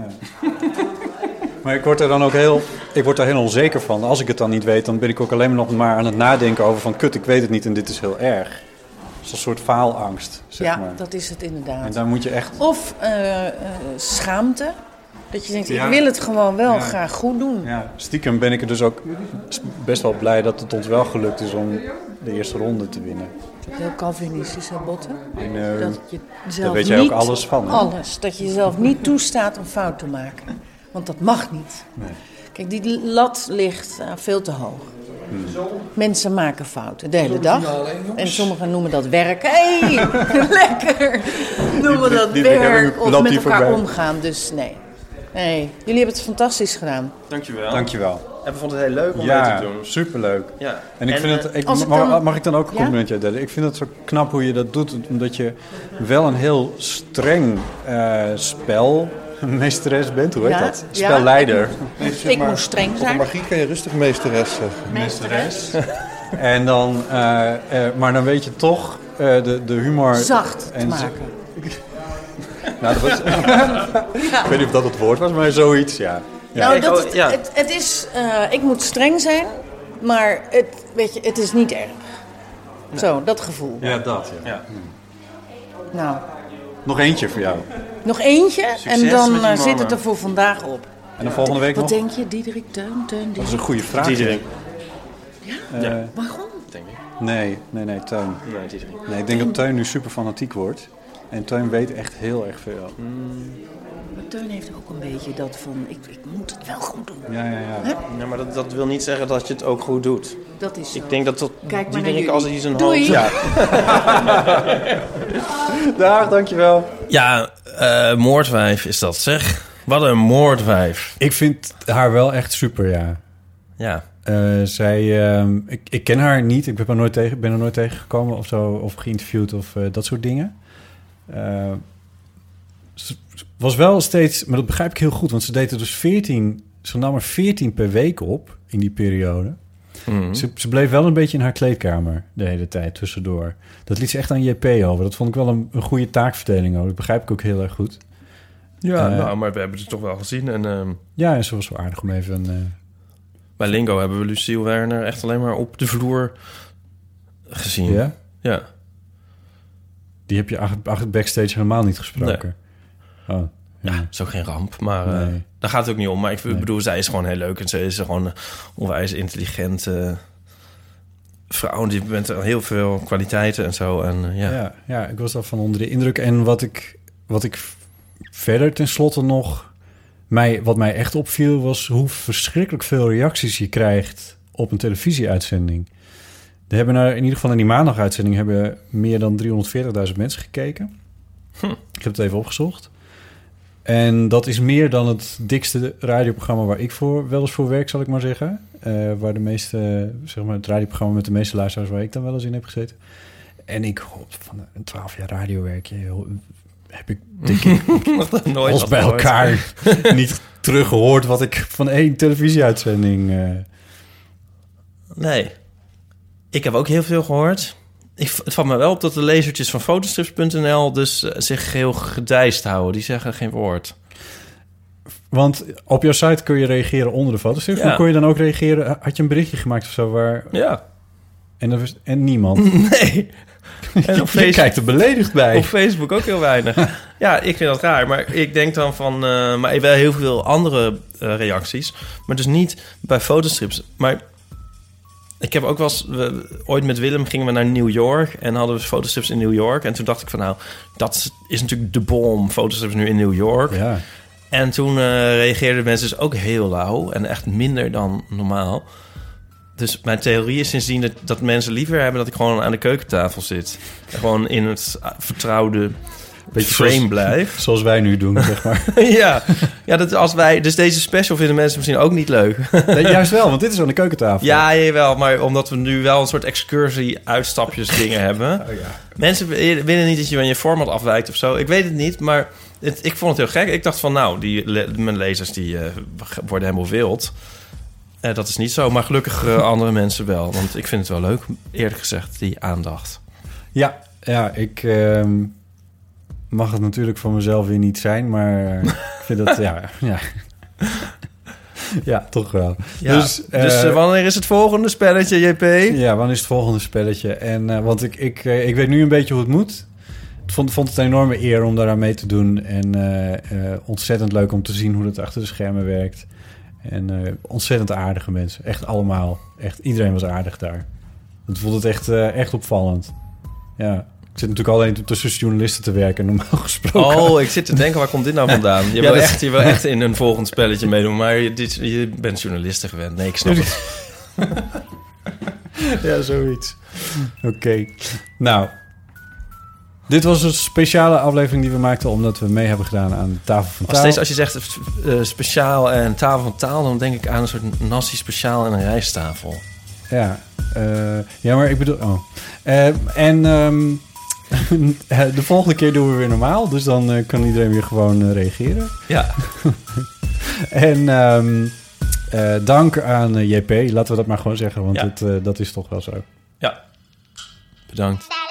Speaker 8: Maar ik word er dan ook heel, ik word daar heel onzeker van. Als ik het dan niet weet, dan ben ik ook alleen nog maar aan het nadenken over van... kut, ik weet het niet en dit is heel erg. Dat is een soort faalangst, zeg
Speaker 5: ja,
Speaker 8: maar.
Speaker 5: dat is het inderdaad.
Speaker 8: En daar moet je echt...
Speaker 5: Of eh, eh, schaamte. Dat je denkt,
Speaker 8: Ja.
Speaker 5: ik wil het gewoon wel
Speaker 8: Ja.
Speaker 5: graag goed doen.
Speaker 8: Ja, stiekem ben ik er dus ook best wel blij dat het ons wel gelukt is om de eerste ronde te winnen.
Speaker 5: heel Calvinistische botten.
Speaker 7: Nee,
Speaker 5: dat je
Speaker 7: daar
Speaker 5: zelf
Speaker 7: weet jij ook
Speaker 5: niet-
Speaker 7: alles van, hè?
Speaker 5: Alles. Dat je jezelf niet toestaat om fout te maken. Want dat mag niet. Kijk, die lat ligt eh, veel te hoog.
Speaker 7: Hmm.
Speaker 5: Mensen maken fouten de hele dag. En sommigen noemen dat werken. Hé, hey, lekker! Noemen
Speaker 7: Die-
Speaker 5: dat
Speaker 7: die- die hebben
Speaker 5: werk.
Speaker 7: een
Speaker 5: Of
Speaker 7: lat
Speaker 5: met
Speaker 7: die
Speaker 5: elkaar
Speaker 7: voorbij.
Speaker 5: omgaan. Dus nee. nee. Jullie hebben het fantastisch gedaan.
Speaker 9: Dankjewel.
Speaker 3: Dankjewel.
Speaker 9: En we vonden het heel leuk om mee
Speaker 3: Ja,
Speaker 9: te doen.
Speaker 3: superleuk.
Speaker 9: Ja.
Speaker 3: En ik
Speaker 9: En,
Speaker 3: vind
Speaker 9: eh,
Speaker 3: het, ik,
Speaker 9: als
Speaker 3: mag,
Speaker 9: ik dan-
Speaker 3: mag ik dan ook een
Speaker 9: Ja?
Speaker 3: complimentje uitdelen? Ik vind het zo knap hoe je dat doet, omdat je wel een heel streng eh spelmeesteres bent. Hoe heet
Speaker 5: Ja,
Speaker 3: dat?
Speaker 5: ja.
Speaker 3: Spelleider.
Speaker 5: Nee, zeg Ik maar, moest streng op de zijn. magie
Speaker 3: kan je rustig meesteres zeggen.
Speaker 5: Meesteres.
Speaker 3: en dan, eh, eh, maar dan weet je toch eh, de, de humor...
Speaker 5: Zacht te
Speaker 3: en zo-
Speaker 5: maken.
Speaker 3: Nou, dat was, Ik weet niet of dat het woord was, maar zoiets, ja. ja.
Speaker 5: Nou, dat, het, het, het is, eh, ik moet streng zijn, maar het, weet je, het is niet erg. Zo, dat gevoel.
Speaker 3: Ja, dat. Ja.
Speaker 5: Nou,
Speaker 3: Nog eentje voor jou.
Speaker 5: nog eentje
Speaker 3: Succes
Speaker 5: en dan
Speaker 3: met die
Speaker 5: eh, zit
Speaker 3: mannen.
Speaker 5: het er voor vandaag op.
Speaker 3: En dan volgende week
Speaker 5: Wat
Speaker 3: nog?
Speaker 5: denk je, Diederik Teun? Teun
Speaker 3: Dat is een goede vraag.
Speaker 4: Diederik.
Speaker 3: Eh,
Speaker 4: Ja.
Speaker 5: Waarom?
Speaker 4: Denk ik.
Speaker 3: Nee, nee, nee, Teun.
Speaker 4: Nee, Diederik.
Speaker 3: Nee, ik denk dat Teun nu super fanatiek wordt. En Teun weet echt heel erg veel.
Speaker 5: Maar Teun heeft ook een beetje dat van, ik, ik moet het wel goed doen.
Speaker 3: Ja, ja, ja.
Speaker 9: Ja, maar dat, dat wil niet zeggen dat je het ook goed doet.
Speaker 5: Dat is zo.
Speaker 9: Ik denk dat tot
Speaker 5: Kijk maar naar
Speaker 9: Diederik
Speaker 5: jullie.
Speaker 9: als hij zijn
Speaker 5: Doei.
Speaker 9: hoofd...
Speaker 5: Ja.
Speaker 3: Dag, dankjewel.
Speaker 4: Ja, eh, moordwijf is dat, zeg. Wat een moordwijf.
Speaker 3: Ik vind haar wel echt super, ja.
Speaker 4: Ja.
Speaker 3: Eh, zij, ehm, ik, ik ken haar niet. Ik ben haar nooit, tegen, ben haar nooit tegengekomen of zo. Of geïnterviewd of eh, dat soort dingen. Eh, ze ze was wel steeds... Maar dat begrijp ik heel goed. Want ze deed er dus 14... Ze nam er 14 per week op in die periode.
Speaker 4: Mhm.
Speaker 3: Ze, ze bleef wel een beetje in haar kleedkamer de hele tijd tussendoor. Dat liet ze echt aan JP over. Dat vond ik wel een, een goede taakverdeling ook. Dat begrijp ik ook heel erg goed.
Speaker 4: Ja,
Speaker 3: Eh,
Speaker 4: nou, maar we hebben het toch wel gezien. En ehm,
Speaker 3: ja, en ze was wel aardig om even... een, eh,
Speaker 4: bij Lingo hebben we Lucille Werner echt alleen maar op de vloer gezien.
Speaker 3: Ja?
Speaker 4: Ja.
Speaker 3: Die heb je achter, achter backstage helemaal niet gesproken. Oh, ja.
Speaker 4: is ook geen ramp, maar eh, daar gaat het ook niet om. Maar ik bedoel, zij is gewoon heel leuk en ze is gewoon een onwijs intelligente vrouw. Die bent heel veel kwaliteiten en zo. En, eh, ja.
Speaker 3: Ja. Ja, ik was daarvan onder de indruk. En wat ik, wat ik v- verder tenslotte nog... Mij, wat mij echt opviel was hoe verschrikkelijk veel reacties je krijgt op een televisieuitzending. Er hebben er, in ieder geval in die maandaguitzending hebben meer dan 340.000 mensen gekeken. Ik heb het even opgezocht. En dat is meer dan het dikste radioprogramma waar ik voor, wel eens voor werk, zal ik maar zeggen. Eh, waar de meeste, zeg maar, het radioprogramma met de meeste luisteraars waar ik dan wel eens in heb gezeten. En ik hoop van een 12 jaar radiowerkje joh, heb ik denk ik
Speaker 4: Nog nooit
Speaker 3: alles
Speaker 4: wat
Speaker 3: bij
Speaker 4: gehoord.
Speaker 3: elkaar niet teruggehoord wat ik van één televisieuitzending. eh,
Speaker 4: Nee. Ik heb ook heel veel gehoord. Ik, het valt me wel op dat de lezertjes van fotostrips.nl dus eh, zich heel gedijst houden. Die zeggen geen woord.
Speaker 3: want op jouw site kun je reageren onder de foto's.
Speaker 4: Ja.
Speaker 3: Hoe kon je dan ook reageren? Had je een berichtje gemaakt of zo waar?
Speaker 4: Ja.
Speaker 3: En, er was, en niemand.
Speaker 4: Nee.
Speaker 3: En op je kijkt er beledigd bij.
Speaker 4: Op Facebook ook heel weinig. ja, ik vind dat raar. Maar ik denk dan van... eh, maar wel heel veel andere eh, reacties. Maar dus niet bij fotostrips. Maar ik heb ook wel eens... we- ooit met Willem gingen we naar New York... en hadden we fotostrips in New York. En toen dacht ik van nou... dat is- is natuurlijk de bom. Fotostrips nu in New York.
Speaker 3: Ja.
Speaker 4: En toen eh, reageerden mensen dus ook heel lauw. En echt minder dan normaal. Dus mijn theorie is sindsdien dat, dat mensen liever hebben dat ik gewoon aan de keukentafel zit. En gewoon in het ah, vertrouwde frame
Speaker 3: zoals-
Speaker 4: blijf.
Speaker 3: Zoals wij nu doen, zeg maar.
Speaker 4: ja, ja dat als wij, dus deze special vinden mensen misschien ook niet leuk.
Speaker 3: Nee, juist wel, want dit is aan de keukentafel.
Speaker 4: Ja, jawel, maar omdat we nu wel een soort excursie-uitstapjes dingen hebben.
Speaker 3: Oh,
Speaker 4: Mensen willen niet dat je van je format afwijkt of zo. Ik weet het niet, maar het, ik vond het heel gek. Ik dacht van, nou, die, le- mijn lezers die, eh, worden helemaal wild. Eh, dat is niet zo, maar gelukkig eh, andere mensen wel. Want ik vind het wel leuk, eerlijk gezegd, die aandacht.
Speaker 3: Ja, ja ik ehm, mag het natuurlijk van mezelf weer niet zijn, maar eh, ik vind dat, ja, ja. Ja, toch wel.
Speaker 4: Ja, dus eh, wanneer is het volgende spelletje, JP?
Speaker 3: Ja, wanneer is het volgende spelletje? En, eh, want ik, ik, eh, ik weet nu een beetje hoe het moet. Ik vond, vond het een enorme eer om daaraan mee te doen. En eh, eh, ontzettend leuk om te zien hoe dat achter de schermen werkt. En eh, ontzettend aardige mensen. Echt allemaal. Echt, iedereen was aardig daar. Het vond het echt, eh, echt opvallend. Ja. Ik zit natuurlijk alleen tussen journalisten te werken, normaal gesproken.
Speaker 4: Oh, ik zit te denken, waar komt dit nou vandaan? Je,
Speaker 3: Ja, dus
Speaker 4: wil,
Speaker 3: dat-
Speaker 4: echt, je wil echt in een volgend spelletje meedoen, maar je, dit, je bent journalisten gewend. Nee,
Speaker 3: Dus
Speaker 4: ik snap het.
Speaker 3: ja, zoiets. Oké. Nou, dit was een speciale aflevering die we maakten... omdat we mee hebben gedaan aan de tafel van
Speaker 4: Nog
Speaker 3: taal.
Speaker 4: steeds als je zegt eh, speciaal en tafel van taal, dan denk ik aan een soort nasi speciaal en een rijsttafel.
Speaker 3: Ja, eh, ja, maar ik bedoel... Oh. Eh, en ehm, eh, de volgende keer doen we weer normaal. Dus dan eh, kan iedereen weer gewoon eh, reageren.
Speaker 4: Ja.
Speaker 3: en ehm, eh, dank aan eh, JP. Laten we dat maar gewoon zeggen, want het, eh, dat is toch wel zo.
Speaker 4: Bedankt.